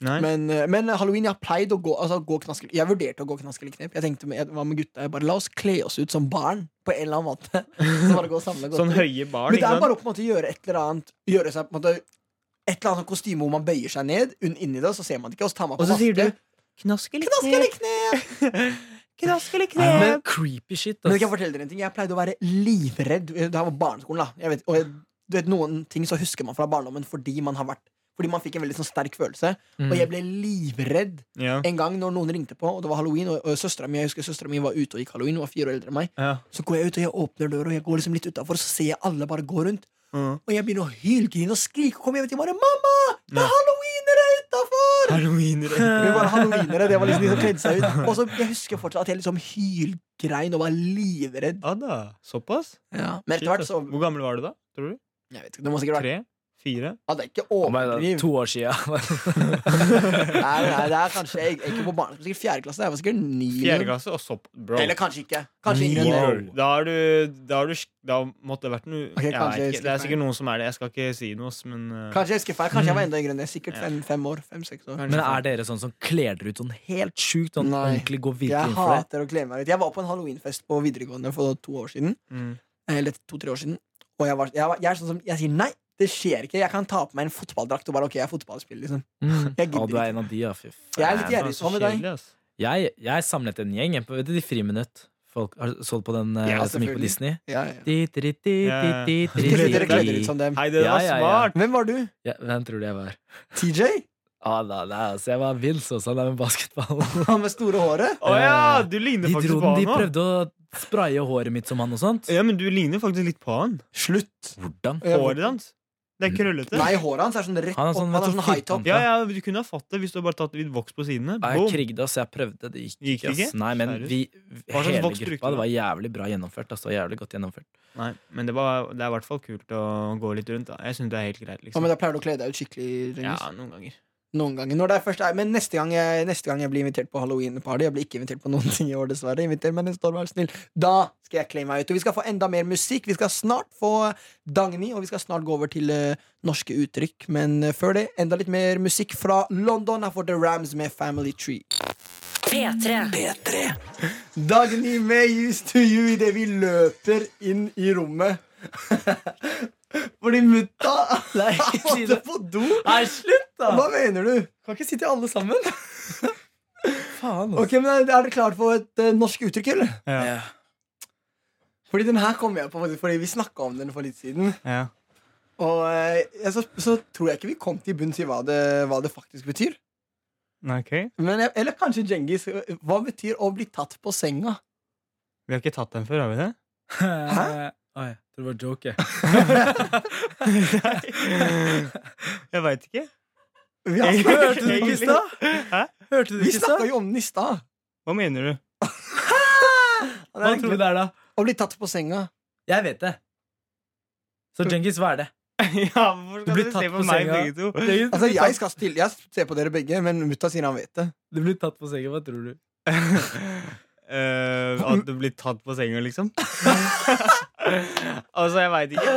[SPEAKER 3] Nei.
[SPEAKER 2] Men, eh, men halloween, jeg har pleid å gå, altså, gå knaske, Jeg vurderte å gå knaskelig knep. Jeg tenkte med, jeg var med gutta jeg bare La oss kle oss ut som barn på en eller annen måte. *laughs* Så bare gå og samle
[SPEAKER 3] Sånn
[SPEAKER 2] godteri.
[SPEAKER 3] høye barn.
[SPEAKER 2] Men det
[SPEAKER 3] ikke
[SPEAKER 2] er
[SPEAKER 3] sant?
[SPEAKER 2] bare å på en måte gjøre et eller annet Gjøre seg på en måte et eller annet sånn kostyme hvor man bøyer seg ned. Un, inni det, så ser man det ikke. Og så tar man på
[SPEAKER 3] Og så sier du
[SPEAKER 2] maske.
[SPEAKER 3] knaskelig
[SPEAKER 2] Knaskelig
[SPEAKER 3] knep.
[SPEAKER 2] knep!
[SPEAKER 3] Knaskelig
[SPEAKER 4] Men
[SPEAKER 3] knep.
[SPEAKER 4] creepy shit.
[SPEAKER 2] Men
[SPEAKER 4] ass.
[SPEAKER 2] jeg kan fortelle dere en ting Jeg pleide å være livredd. Det her var barneskolen, da. Jeg vet, og jeg, du vet, noen ting så husker man fra barndommen fordi man har vært Fordi man fikk en veldig sånn sterk følelse.
[SPEAKER 3] Mm.
[SPEAKER 2] Og jeg ble livredd
[SPEAKER 3] Ja.
[SPEAKER 2] en gang når noen ringte på, og det var halloween. Og, og søstera mi jeg husker søstera mi var ute og gikk halloween. Hun var fire år eldre enn meg.
[SPEAKER 3] Ja.
[SPEAKER 2] Så går jeg ut og jeg åpner døra, og jeg går liksom litt utafor, og så ser jeg alle bare gå rundt.
[SPEAKER 3] Mm.
[SPEAKER 2] Og jeg begynner å hylgrine og skrike og komme hjem til bare 'Mamma! Det
[SPEAKER 3] Ja.
[SPEAKER 2] er halloweenere
[SPEAKER 3] *laughs*
[SPEAKER 2] utafor!'
[SPEAKER 3] Halloween-rett.
[SPEAKER 2] Vi var halloweenere, det var liksom de som kledde seg ut. Og så Jeg husker fortsatt at jeg liksom hylgrein og var livredd.
[SPEAKER 3] Ja da. Såpass?
[SPEAKER 2] Men etter hvert
[SPEAKER 3] Shit, ass.
[SPEAKER 2] så
[SPEAKER 3] Hvor gammel var du da? Tror du?
[SPEAKER 2] Jeg vet ikke, det må sikkert være
[SPEAKER 3] Tre? Fire?
[SPEAKER 2] ja, Det er ikke
[SPEAKER 4] Å, men det er
[SPEAKER 2] overdriv.
[SPEAKER 4] To år sia.
[SPEAKER 2] Nei, nei, det er kanskje jeg, ikke på barneskolen, sikkert fjerde klasse. Jeg var sikkert ni.
[SPEAKER 3] Fjerde klasse og sopp... Bro.
[SPEAKER 2] Eller kanskje ikke. Kanskje yngre enn det.
[SPEAKER 4] Wow.
[SPEAKER 3] Da, har du, da, har du, da måtte det vært noe
[SPEAKER 2] Ok,
[SPEAKER 3] jeg
[SPEAKER 2] kanskje
[SPEAKER 3] vet
[SPEAKER 2] jeg
[SPEAKER 3] ikke. Det er
[SPEAKER 2] slipper.
[SPEAKER 3] sikkert noen som er det. Jeg skal ikke si noe, ass, men eh,
[SPEAKER 2] Kanskje jeg husker feil. Kanskje jeg var enda yngre enn det. Sikkert
[SPEAKER 3] Ja.
[SPEAKER 2] fem, fem år. Fem-seks år.
[SPEAKER 3] kanskje
[SPEAKER 4] Men
[SPEAKER 3] faen.
[SPEAKER 4] er dere sånn som kler dere ut sånn helt sjukt? Sånn
[SPEAKER 2] Nei.
[SPEAKER 4] ordentlig går virkelig
[SPEAKER 2] Jeg
[SPEAKER 4] inn for det?
[SPEAKER 2] hater å kle meg ut. Jeg var på en halloweenfest på videregående for to år siden.
[SPEAKER 3] mm.
[SPEAKER 2] Eh, Eller to-tre år siden. Og jeg, var, jeg, var, jeg er sånn som Jeg sier nei, det skjer ikke. Jeg kan ta på meg en fotballdrakt og bare ok, jeg er fotballspiller, liksom.
[SPEAKER 4] Mm.
[SPEAKER 2] *laughs* Jeg gidder
[SPEAKER 4] Å, du er en av de, ja. Fy faen.
[SPEAKER 2] Jeg er litt
[SPEAKER 3] Faen,
[SPEAKER 2] gjerrig.
[SPEAKER 3] så
[SPEAKER 2] Hva med deg?
[SPEAKER 3] kjedelig, ass.
[SPEAKER 4] Jeg, jeg samlet en gjeng jeg, på, vet du, de friminutt. Folk har så på den eh,
[SPEAKER 2] Ja,
[SPEAKER 4] som gikk
[SPEAKER 2] selvfølgelig.
[SPEAKER 4] på Disney.
[SPEAKER 2] Ja, ja.
[SPEAKER 4] Di, di, di,
[SPEAKER 3] Ja, ja.
[SPEAKER 4] di, *laughs* di, di,
[SPEAKER 2] Ikke
[SPEAKER 4] di,
[SPEAKER 2] sitt dere sånn.
[SPEAKER 4] di.
[SPEAKER 2] kledd ut som dem.
[SPEAKER 3] Hei, det
[SPEAKER 4] Ja,
[SPEAKER 3] var
[SPEAKER 4] ja, ja.
[SPEAKER 3] smart!
[SPEAKER 2] Hvem var du?
[SPEAKER 4] Ja, hvem tror du jeg var?
[SPEAKER 2] TJ?
[SPEAKER 4] Ah, da, da, altså, jeg var Vils også, han er med *laughs* basketball.
[SPEAKER 2] Han med store håret?
[SPEAKER 3] Å ja!
[SPEAKER 4] Eh,
[SPEAKER 3] Du ligner
[SPEAKER 4] De,
[SPEAKER 3] faktisk
[SPEAKER 4] dro
[SPEAKER 3] på
[SPEAKER 4] den,
[SPEAKER 3] han
[SPEAKER 4] de
[SPEAKER 3] nå.
[SPEAKER 4] prøvde å spraye håret mitt som han og sånt.
[SPEAKER 3] Ja, men du ligner faktisk litt på han.
[SPEAKER 2] Slutt.
[SPEAKER 4] Hvordan?
[SPEAKER 3] Håret hans. Det er krøllete.
[SPEAKER 2] Nei, håret hans er sånn rett
[SPEAKER 4] Han er
[SPEAKER 2] opp.
[SPEAKER 4] sånn-
[SPEAKER 2] Han er sånn high top.
[SPEAKER 3] Ja, ja, Du kunne ha fått det hvis du hadde bare tatt litt voks på sidene.
[SPEAKER 4] Nei, Jeg
[SPEAKER 3] Boom.
[SPEAKER 4] krigde, ass. Jeg prøvde. Det gikk
[SPEAKER 3] Gikk
[SPEAKER 4] ikke. ass.
[SPEAKER 3] ikke?
[SPEAKER 4] Nei, men
[SPEAKER 3] Seriøst?
[SPEAKER 4] vi,
[SPEAKER 3] Hva slags
[SPEAKER 4] hele
[SPEAKER 3] voks brukte
[SPEAKER 4] gruppa
[SPEAKER 3] du?
[SPEAKER 4] det var jævlig bra gjennomført. ass. Det var jævlig godt gjennomført.
[SPEAKER 3] Nei, men det, var, det er i hvert fall kult å gå litt rundt. da Jeg syns det er helt greit.
[SPEAKER 2] Ja,
[SPEAKER 3] liksom
[SPEAKER 2] men da pleier du å kle deg ut skikkelig.
[SPEAKER 3] Ja,
[SPEAKER 2] Rengis.
[SPEAKER 3] noen ganger.
[SPEAKER 2] Noen ganger. Når det er først, men neste gang, jeg, neste gang jeg blir invitert på halloween-party Jeg blir ikke invitert på noen ting i år, dessverre. Inviter meg neste år, vær snill. Da skal jeg kle meg ut. Og vi skal få enda mer musikk. Vi skal snart få Dagny, og vi skal snart gå over til eh, norske uttrykk. Men eh, før det, enda litt mer musikk fra London. Her får The Rams med Family Tree.
[SPEAKER 5] P3.
[SPEAKER 2] *laughs* Dagny med Used to You idet vi løper inn i rommet. *laughs* Fordi mutta
[SPEAKER 4] Nei,
[SPEAKER 2] måtte på do.
[SPEAKER 4] Nei, slutt,
[SPEAKER 2] Hva mener du?
[SPEAKER 4] Kan ikke sitte alle sammen.
[SPEAKER 3] *laughs*
[SPEAKER 4] Faen, ass.
[SPEAKER 2] Ok, men Er dere klare for et eh, norsk uttrykk, eller?
[SPEAKER 3] Ja,
[SPEAKER 4] Ja.
[SPEAKER 2] Fordi den her kom jeg på faktisk fordi vi snakka om den for litt siden.
[SPEAKER 3] ja.
[SPEAKER 2] Og eh, jeg, så, så tror jeg ikke vi kom til bunns i hva det, hva det faktisk betyr.
[SPEAKER 3] Nei, ok
[SPEAKER 2] Men jeg, eller kanskje Djengis. eh, Hva betyr å bli tatt på senga?
[SPEAKER 3] Vi har ikke tatt den før, har vi det?
[SPEAKER 4] Hæ? Oi, det var joke.
[SPEAKER 3] *laughs* Jeg veit ikke.
[SPEAKER 2] Vi, har
[SPEAKER 4] Hørte du ikke i
[SPEAKER 2] snakket-
[SPEAKER 4] stad?
[SPEAKER 3] Hæ?
[SPEAKER 4] Hørte du
[SPEAKER 2] vi
[SPEAKER 4] ikke i
[SPEAKER 2] snakka
[SPEAKER 4] stad?
[SPEAKER 2] jo om den i stad.
[SPEAKER 3] Hva mener du?
[SPEAKER 2] Og det
[SPEAKER 4] Hva
[SPEAKER 2] er
[SPEAKER 4] tror du
[SPEAKER 2] egentlig-
[SPEAKER 4] det er, da?
[SPEAKER 2] Å bli tatt på senga.
[SPEAKER 4] Jeg vet det. Så Djengis, hva er det?
[SPEAKER 3] *laughs* Ja, hvorfor
[SPEAKER 4] Du
[SPEAKER 3] skal
[SPEAKER 4] blir
[SPEAKER 3] dere
[SPEAKER 4] tatt
[SPEAKER 3] se
[SPEAKER 4] på
[SPEAKER 3] på meg
[SPEAKER 4] senga.
[SPEAKER 3] begge
[SPEAKER 4] *laughs*
[SPEAKER 3] to?
[SPEAKER 2] Altså, jeg skal stille, jeg ser på dere begge, men mutta sier han vet det.
[SPEAKER 4] Du blir tatt på senga, hva tror du?
[SPEAKER 3] Eh, at du blir tatt på senga,
[SPEAKER 4] *laughs*
[SPEAKER 3] liksom? altså, jeg veit ikke.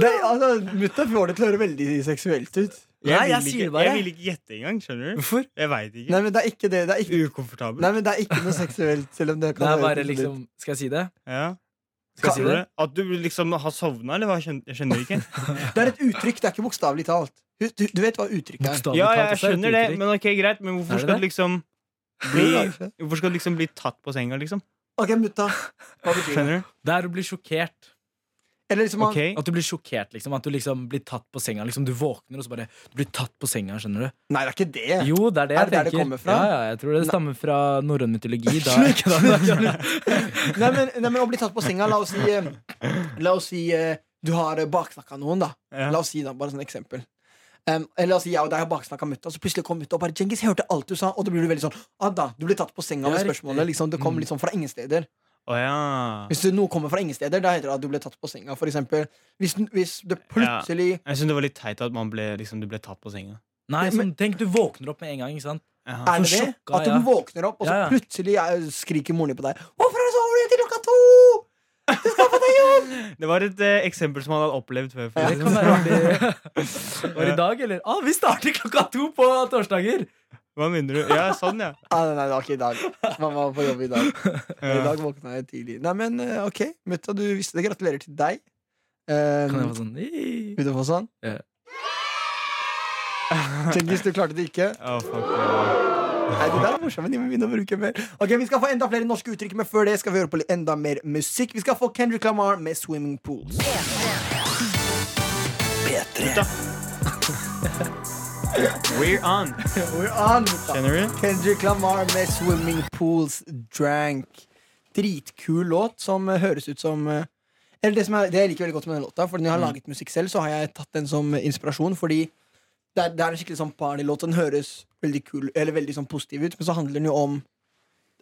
[SPEAKER 2] det altså, mutta får det til å høre veldig seksuelt ut.
[SPEAKER 3] Jeg
[SPEAKER 4] Nei, jeg
[SPEAKER 3] vil
[SPEAKER 4] sier
[SPEAKER 3] ikke-
[SPEAKER 4] det bare.
[SPEAKER 3] Jeg vil ikke gjette engang. Skjønner du?
[SPEAKER 4] Hvorfor?
[SPEAKER 3] Jeg veit ikke.
[SPEAKER 2] Nei, men det er ikke det. det er ikke,
[SPEAKER 3] Ukomfortabel.
[SPEAKER 2] nei, men det er ikke noe seksuelt, selv om det
[SPEAKER 4] Det
[SPEAKER 2] kan
[SPEAKER 4] er
[SPEAKER 2] høres ut som
[SPEAKER 4] bare
[SPEAKER 2] litt-
[SPEAKER 4] liksom Skal jeg si det?
[SPEAKER 3] Ja.
[SPEAKER 4] Skal jeg si det?
[SPEAKER 3] At du liksom har sovna, eller hva? Jeg skjønner- Jeg skjønner
[SPEAKER 4] *laughs*
[SPEAKER 3] ikke.
[SPEAKER 2] Det er et uttrykk, det er ikke bokstavelig talt. Du, du, du vet hva uttrykket er.
[SPEAKER 4] Bokstavelig
[SPEAKER 3] Ja, jeg
[SPEAKER 4] talt, altså, er et
[SPEAKER 3] skjønner det,
[SPEAKER 4] uttrykk.
[SPEAKER 3] men ok, greit. Men
[SPEAKER 4] Er
[SPEAKER 3] hvorfor
[SPEAKER 4] det
[SPEAKER 3] skal du
[SPEAKER 4] det?
[SPEAKER 3] liksom bli Hvorfor skal du liksom bli tatt på senga, liksom?
[SPEAKER 2] Ok, mutta. Hva betyr det?
[SPEAKER 3] Skjønner du?
[SPEAKER 4] Det er å bli sjokkert.
[SPEAKER 2] Eller liksom han-
[SPEAKER 3] Ok
[SPEAKER 4] At du blir sjokkert, liksom. At du liksom blir tatt på senga. Liksom, du våkner, og så bare Du blir tatt på senga, skjønner du?
[SPEAKER 2] Nei, det er ikke det. *laughs*
[SPEAKER 4] Jo, det er det
[SPEAKER 2] Er
[SPEAKER 4] jeg
[SPEAKER 2] det der det
[SPEAKER 4] tenker.
[SPEAKER 2] kommer fra?
[SPEAKER 4] Ja, ja, jeg tror det stammer fra norrøn mytologi. Da.
[SPEAKER 2] Slutt,
[SPEAKER 4] Da-
[SPEAKER 2] *laughs* slutt, Nei, men, nei, men å bli tatt på senga La oss si, eh, la oss si eh, du har eh, baksnakka noen, da.
[SPEAKER 3] Ja.
[SPEAKER 2] La oss si da, bare sånn eksempel. Em, eller la oss si jeg og deg har baksnakka mutta, så plutselig kom mutta og bare 'Djengis, jeg hørte alt du sa', og da blir du veldig sånn ah, da, Du blir tatt på senga med
[SPEAKER 4] Ja, riktig.
[SPEAKER 2] spørsmålet. Liksom, det kom
[SPEAKER 4] Mm.
[SPEAKER 2] litt sånn fra ingen steder.
[SPEAKER 3] Å ja.
[SPEAKER 2] Hvis det- noe kommer fra ingen steder, da heter det at du ble tatt på senga, for eksempel. Hvis, den- hvis det plutselig
[SPEAKER 3] Jeg syns det var litt teit at man ble, liksom, du ble tatt på senga.
[SPEAKER 4] Nei,
[SPEAKER 2] Men-
[SPEAKER 4] sånn, tenk, du våkner opp med en gang, ikke sant?
[SPEAKER 3] Jaha.
[SPEAKER 2] Er det det?
[SPEAKER 4] Sjokka,
[SPEAKER 2] At hun
[SPEAKER 4] ja.
[SPEAKER 2] våkner opp, og så
[SPEAKER 4] Ja, ja.
[SPEAKER 2] plutselig eh, skriker moren din på deg 'Hvorfor sover du til klokka to?' Du skal få
[SPEAKER 3] Det var et eh, eksempel som han hadde opplevd før.
[SPEAKER 4] Det
[SPEAKER 3] Felix.
[SPEAKER 4] kan være
[SPEAKER 2] *laughs*
[SPEAKER 4] artig. Var det i dag, eller? Ah, vi starter klokka to på torsdager!
[SPEAKER 3] Hva mener du? Ja, sånn, ja.
[SPEAKER 2] Ah, nei, nei, det var ikke i dag. Man var på jobb i
[SPEAKER 4] *laughs*
[SPEAKER 2] dag. I
[SPEAKER 3] ja.
[SPEAKER 2] dag våkna jeg tidlig. Nei, men eh, OK, mutta, du visste det. Gratulerer til deg. Eh,
[SPEAKER 4] Kan jeg få sånn "Ii".
[SPEAKER 2] vil du få sånn?
[SPEAKER 4] Ja.
[SPEAKER 2] *laughs* Tenk hvis du klarte det ikke.
[SPEAKER 3] Å, fuck, ja.
[SPEAKER 2] Nei, det der er morsomt, men de må begynne å bruke mer. Ok, Vi skal få enda flere norske uttrykk, men før det skal vi høre på litt enda mer musikk. Vi skal få Kendrick Lamar med 'Swimming Pools'.
[SPEAKER 1] P3.
[SPEAKER 3] We're on.
[SPEAKER 2] We're on, gutta.
[SPEAKER 3] Skjønner du?
[SPEAKER 2] Kendrick Lamar med 'Swimming Pools Drank'. Dritkul låt som eh, høres ut som eh, Eller det, som er, det jeg liker veldig godt med den låta, for når jeg har
[SPEAKER 3] Mm.
[SPEAKER 2] laget musikk selv, så har jeg tatt den som inspirasjon, fordi det er, det er en skikkelig sånn partylåt. Den høres veldig kul, eller veldig sånn positiv ut, men så handler den jo om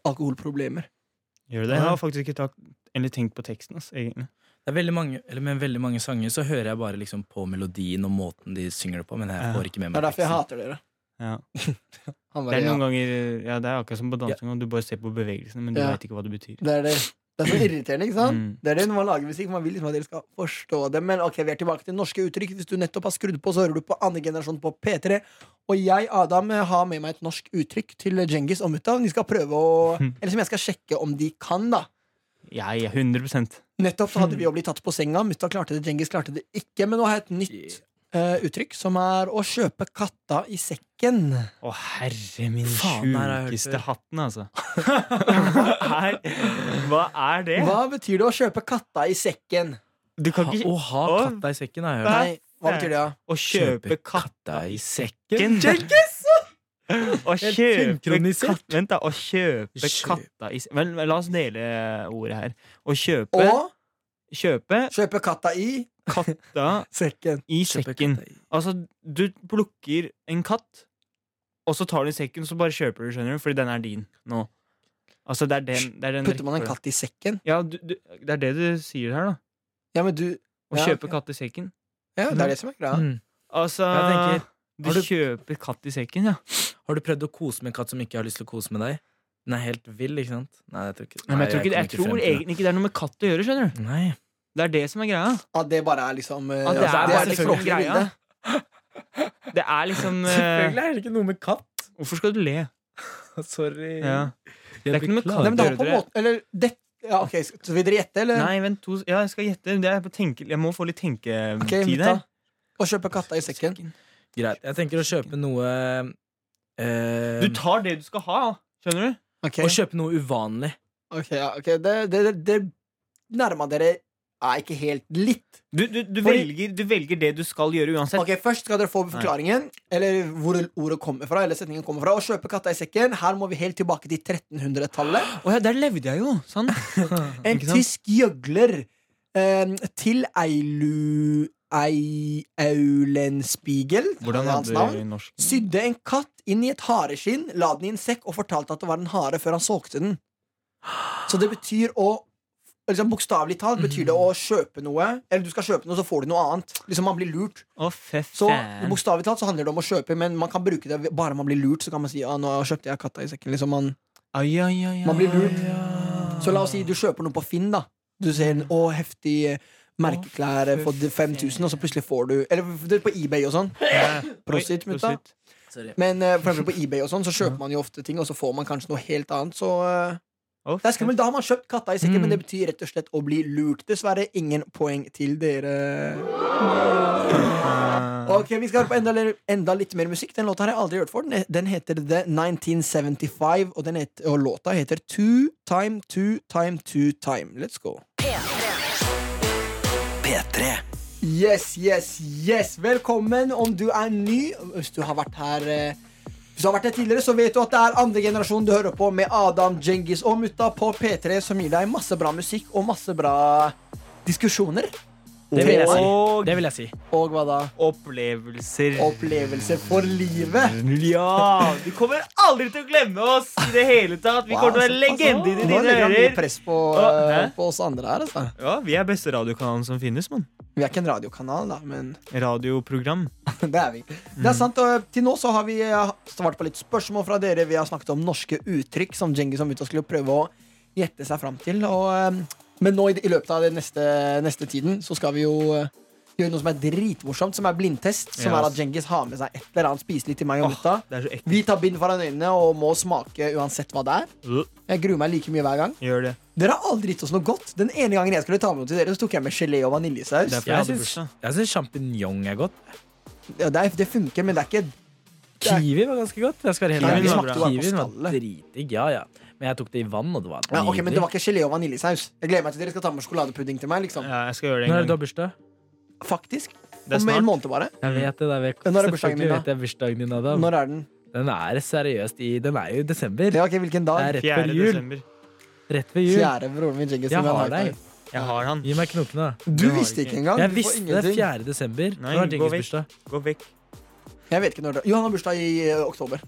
[SPEAKER 2] alkoholproblemer.
[SPEAKER 3] Gjør du det? Jeg har faktisk ikke tak eller tenkt på teksten. ass, egentlig.
[SPEAKER 4] Det er veldig mange, eller Med veldig mange sanger så hører jeg bare liksom på melodien og måten de synger det på, men jeg
[SPEAKER 3] Ja.
[SPEAKER 4] får ikke
[SPEAKER 2] Det
[SPEAKER 4] med meg
[SPEAKER 2] er derfor jeg
[SPEAKER 4] teksten.
[SPEAKER 2] hater dere.
[SPEAKER 3] Ja.
[SPEAKER 2] Han
[SPEAKER 3] Det
[SPEAKER 2] bare,
[SPEAKER 3] er
[SPEAKER 2] ja.
[SPEAKER 3] noen ganger, ja, det er akkurat som på dansing, og du bare ser på bevegelsene, men du
[SPEAKER 2] Ja.
[SPEAKER 3] vet ikke hva det betyr.
[SPEAKER 2] Det er det. Det er så irriterende, ikke sant?
[SPEAKER 3] Mm.
[SPEAKER 2] Det er det når man lager musikk. Man vil liksom at dere skal forstå det. Men ok, vi er tilbake til norske uttrykk. Hvis du nettopp har skrudd på, så hører du på andre generasjon på P3. Og jeg, Adam, har med meg et norsk uttrykk til Djengis og mutta. De skal prøve å Eller som jeg skal sjekke om de kan, da.
[SPEAKER 3] Jeg er 100
[SPEAKER 2] Nettopp så hadde vi jo blitt tatt på senga. Mutta klarte det, Djengis klarte det ikke. Men nå har jeg et nytt eh, uttrykk, som er å kjøpe katta i sekken.
[SPEAKER 3] Å, herre min
[SPEAKER 4] Faen, her har jeg hørt
[SPEAKER 3] sjukeste hatten, altså. Her, hva er det?
[SPEAKER 2] Hva betyr det å kjøpe katta i sekken?
[SPEAKER 3] Du kan
[SPEAKER 4] Ha-
[SPEAKER 3] ikke
[SPEAKER 4] Å ha
[SPEAKER 3] Å,
[SPEAKER 4] katta i sekken, har jeg hørt.
[SPEAKER 2] Nei, hva betyr det? da?
[SPEAKER 3] Å kjøpe katta
[SPEAKER 4] i
[SPEAKER 3] sekken.
[SPEAKER 4] sekken.
[SPEAKER 3] Å kjøpe
[SPEAKER 4] filmkronisert.
[SPEAKER 3] katt- Vent, da. Å kjøpe
[SPEAKER 4] Kjø-
[SPEAKER 3] katta i se- Vel, la oss dele eh, ordet her. Å
[SPEAKER 2] *laughs*
[SPEAKER 3] kjøpe
[SPEAKER 2] Å
[SPEAKER 3] Kjøpe
[SPEAKER 2] kjøpe katta i
[SPEAKER 3] katta
[SPEAKER 2] sekken.
[SPEAKER 3] i
[SPEAKER 4] Kjøpe
[SPEAKER 3] sekken.
[SPEAKER 4] katta i-
[SPEAKER 3] Altså, du plukker en katt, og så tar du den i sekken, så bare kjøper du, skjønner du, fordi den er din nå. Altså, det er den, det er den
[SPEAKER 2] Putter man en
[SPEAKER 3] rekkefølgen.
[SPEAKER 2] katt i sekken?
[SPEAKER 3] Ja, du, du, det er det du sier her, da.
[SPEAKER 2] Ja, men du
[SPEAKER 3] Å
[SPEAKER 2] Ja,
[SPEAKER 3] kjøpe
[SPEAKER 2] ok.
[SPEAKER 3] katt i sekken.
[SPEAKER 2] Ja, det er det som er greia.
[SPEAKER 4] Mm.
[SPEAKER 3] Altså,
[SPEAKER 4] Jeg tenker,
[SPEAKER 3] du,
[SPEAKER 4] har du-
[SPEAKER 3] kjøper katt i sekken, ja.
[SPEAKER 4] Har du prøvd å kose med en katt som ikke har lyst til å kose med deg? Den er helt vill, ikke sant? Nei, jeg tror ikke
[SPEAKER 3] Nei, men jeg tror, ikke,
[SPEAKER 4] Nei,
[SPEAKER 3] jeg tror
[SPEAKER 4] kom ikke frem til det.
[SPEAKER 3] egentlig ikke det er noe med katt å gjøre, skjønner du.
[SPEAKER 4] Nei.
[SPEAKER 3] Det er det som er greia.
[SPEAKER 2] At det bare er liksom eh,
[SPEAKER 3] At
[SPEAKER 2] altså,
[SPEAKER 3] det er
[SPEAKER 2] det
[SPEAKER 3] bare
[SPEAKER 2] er det
[SPEAKER 3] liksom
[SPEAKER 2] flotte
[SPEAKER 3] greia.
[SPEAKER 2] bildet.
[SPEAKER 3] Det er
[SPEAKER 2] *laughs*
[SPEAKER 3] liksom eh,
[SPEAKER 4] Selvfølgelig er det ikke noe med katt. *laughs*
[SPEAKER 3] Hvorfor skal du le?
[SPEAKER 4] Sorry.
[SPEAKER 3] Ja. Det er ikke noe med
[SPEAKER 2] Nei,
[SPEAKER 3] katt.
[SPEAKER 2] men det har
[SPEAKER 3] Hører
[SPEAKER 2] på en
[SPEAKER 3] dere?
[SPEAKER 2] måte Eller det ja, ok, Så vil dere gjette, eller?
[SPEAKER 3] Nei, vent to s- Ja, jeg skal gjette. Det er på tenke, jeg må få litt tenketid
[SPEAKER 2] Ok, mutta.
[SPEAKER 3] her.
[SPEAKER 2] Å kjøpe katta i sekken.
[SPEAKER 4] Greit. Jeg tenker å kjøpe noe eh,
[SPEAKER 3] Du tar det du skal ha, skjønner du?
[SPEAKER 2] Ok,
[SPEAKER 4] Å kjøpe noe uvanlig.
[SPEAKER 2] ok, ja, ok Det, det, det, det nærma dere er ikke helt litt.
[SPEAKER 3] Du, du, du,
[SPEAKER 2] Fordi-
[SPEAKER 3] velger, du velger det du skal gjøre uansett.
[SPEAKER 2] Ok, Først skal dere få forklaringen, eller hvor ordet kommer fra. Eller setningen kommer fra Å kjøpe katta i sekken. Her må vi helt tilbake til 1300-tallet.
[SPEAKER 3] Å ja, der levde jeg jo! Sånn.
[SPEAKER 2] En
[SPEAKER 3] *laughs* Ikke sant?
[SPEAKER 2] tysk gjøgler eh, til Eilu... Ei, Eulenspiegel,
[SPEAKER 3] Hvordan
[SPEAKER 2] hans
[SPEAKER 3] hadde
[SPEAKER 2] navn,
[SPEAKER 3] du i norsk?
[SPEAKER 2] sydde en katt inn i et hareskinn, la den i en sekk og fortalte at det var en hare før han solgte den. Så det betyr å liksom Bokstavelig talt betyr det å
[SPEAKER 3] Mhm.
[SPEAKER 2] kjøpe noe. Eller du skal kjøpe noe, så får du noe annet. Liksom Man blir lurt.
[SPEAKER 3] Å, fy
[SPEAKER 2] Så
[SPEAKER 3] faen.
[SPEAKER 2] bokstavelig talt så handler det om å kjøpe, men man kan bruke det bare man blir lurt. Så kan man si ah, 'nå kjøpte jeg katta i sekken'. Liksom man
[SPEAKER 3] Ai, ai, ai, ai,
[SPEAKER 2] man blir lurt.
[SPEAKER 3] ai.
[SPEAKER 2] Så la oss si du kjøper noe på Finn, da. Du ser en å, heftig eh, merkeklær eh, for 5000, og så plutselig får du Eller det er på eBay og sånn.
[SPEAKER 3] Ja.
[SPEAKER 2] Prosit,
[SPEAKER 3] Oi,
[SPEAKER 2] mutta.
[SPEAKER 3] prosit.
[SPEAKER 2] Men eh, for eksempel på eBay og sånn, så kjøper man jo ofte ting, og så får man kanskje noe helt annet. Så eh,
[SPEAKER 3] Å, Mm.
[SPEAKER 2] det er skummelt. Da har man kjøpt katta i sekken, men det betyr rett og slett å bli lurt. Dessverre ingen poeng til dere.
[SPEAKER 3] Ah.
[SPEAKER 2] Ok, Vi skal høre på enda, enda litt mer musikk. Den låta har jeg aldri hørt for. Den, den heter The 1975, og, den het, og låta heter Two Time Two Time Two Time. Let's go.
[SPEAKER 1] P3.
[SPEAKER 2] Yes, yes, yes! Velkommen om du er ny. Hvis du har vært her eh, Hvis du har vært her tidligere, så vet du at det er andre generasjon du hører på med Adam, Djengis og Mutta på P3, som gir deg masse bra musikk og masse bra diskusjoner.
[SPEAKER 4] Det vil jeg si.
[SPEAKER 3] Og
[SPEAKER 4] Det vil jeg si.
[SPEAKER 2] Og hva da?
[SPEAKER 3] opplevelser.
[SPEAKER 2] Opplevelser for livet.
[SPEAKER 3] Ja! Du kommer aldri til å glemme oss i det hele tatt. Vi kommer til å være
[SPEAKER 2] Wow,
[SPEAKER 3] legender i
[SPEAKER 2] altså, Nå
[SPEAKER 3] dine
[SPEAKER 2] legger han mye
[SPEAKER 3] ører.
[SPEAKER 2] press på,
[SPEAKER 3] Å,
[SPEAKER 2] eh,
[SPEAKER 3] hæ?
[SPEAKER 2] på oss andre her, altså.
[SPEAKER 3] Ja, vi er beste radiokanalen som finnes, mann.
[SPEAKER 2] Vi er ikke en radiokanal, da, men
[SPEAKER 3] Radioprogram.
[SPEAKER 2] *laughs* Det er vi. Det
[SPEAKER 3] Mm.
[SPEAKER 2] er sant, og Til nå så har vi eh, svart på litt spørsmål fra dere. Vi har snakket om norske uttrykk som Djengis og Mutta skulle prøve å gjette seg fram til. Og, eh, men nå i, i løpet av den neste, neste tiden så skal vi jo eh, gjøre noe som er dritmorsomt, som er blindtest. Som
[SPEAKER 3] Ja,
[SPEAKER 2] er
[SPEAKER 3] ass.
[SPEAKER 2] at Djengis har med seg et eller annet spiselig til meg og gutta.
[SPEAKER 3] Det er så ekkelt.
[SPEAKER 2] Vi tar bind foran øynene og må smake uansett hva det er.
[SPEAKER 3] Øh,
[SPEAKER 2] Jeg gruer meg like mye hver gang.
[SPEAKER 3] Gjør det.
[SPEAKER 2] Dere har aldri gitt oss noe godt. Den ene gangen jeg skulle ta med noe til dere, så tok jeg med gelé og vaniljesaus.
[SPEAKER 3] Det er for-
[SPEAKER 4] Jeg
[SPEAKER 3] hadde
[SPEAKER 4] syns,
[SPEAKER 3] bursdag.
[SPEAKER 4] jeg syns sjampinjong er godt.
[SPEAKER 2] Ja, det, er, det funker, men det er ikke Det er-
[SPEAKER 4] Kiwi var ganske godt. Jeg skal være helt
[SPEAKER 3] Kiwi
[SPEAKER 4] ærlig.
[SPEAKER 3] smakte jo
[SPEAKER 2] bare på
[SPEAKER 4] Kiwien var
[SPEAKER 2] skallet.
[SPEAKER 4] dritdigg, ja ja. Men jeg tok det i vann, og det var
[SPEAKER 2] ja, ok, Men det var
[SPEAKER 4] nydelig.
[SPEAKER 2] ikke gelé og vaniljesaus. Jeg gleder meg til dere skal ta med sjokoladepudding til meg. liksom
[SPEAKER 3] Ja, jeg skal gjøre det
[SPEAKER 4] Når er
[SPEAKER 3] en
[SPEAKER 4] det
[SPEAKER 3] gang.
[SPEAKER 4] du har bursdag?
[SPEAKER 2] Faktisk.
[SPEAKER 3] Det
[SPEAKER 2] Om
[SPEAKER 3] er
[SPEAKER 2] en
[SPEAKER 3] snart.
[SPEAKER 2] måned bare.
[SPEAKER 4] Jeg vet det. det er vek-
[SPEAKER 2] Når er bursdagen din,
[SPEAKER 4] Selvfølgelig
[SPEAKER 2] da?
[SPEAKER 4] vet jeg bursdagen din, Adam.
[SPEAKER 2] Når er den?
[SPEAKER 4] Den er seriøst i Den er jo i desember.
[SPEAKER 2] Ja, ok, Hvilken
[SPEAKER 4] Det
[SPEAKER 2] dag?
[SPEAKER 4] er rett før
[SPEAKER 3] 4.
[SPEAKER 4] jul.
[SPEAKER 3] desember.
[SPEAKER 4] Rett ved jul.
[SPEAKER 2] Fjerde broren min Djengis.
[SPEAKER 4] Jeg
[SPEAKER 2] som
[SPEAKER 4] har
[SPEAKER 2] en high
[SPEAKER 4] deg.
[SPEAKER 2] five.
[SPEAKER 3] Jeg har han.
[SPEAKER 4] Gi meg knokene, da.
[SPEAKER 2] Du
[SPEAKER 3] Det har
[SPEAKER 2] visste
[SPEAKER 3] jeg
[SPEAKER 2] ikke
[SPEAKER 3] ikke.
[SPEAKER 2] engang.
[SPEAKER 4] Jeg
[SPEAKER 2] Du får
[SPEAKER 4] visste det.
[SPEAKER 2] ingenting.
[SPEAKER 4] 4. desember.
[SPEAKER 3] Nei,
[SPEAKER 4] Når er
[SPEAKER 3] gå
[SPEAKER 4] Djengis
[SPEAKER 3] vekk.
[SPEAKER 4] bursdag?
[SPEAKER 3] Gå vekk.
[SPEAKER 2] Jeg vet ikke når det Jo, han har bursdag i eh, oktober.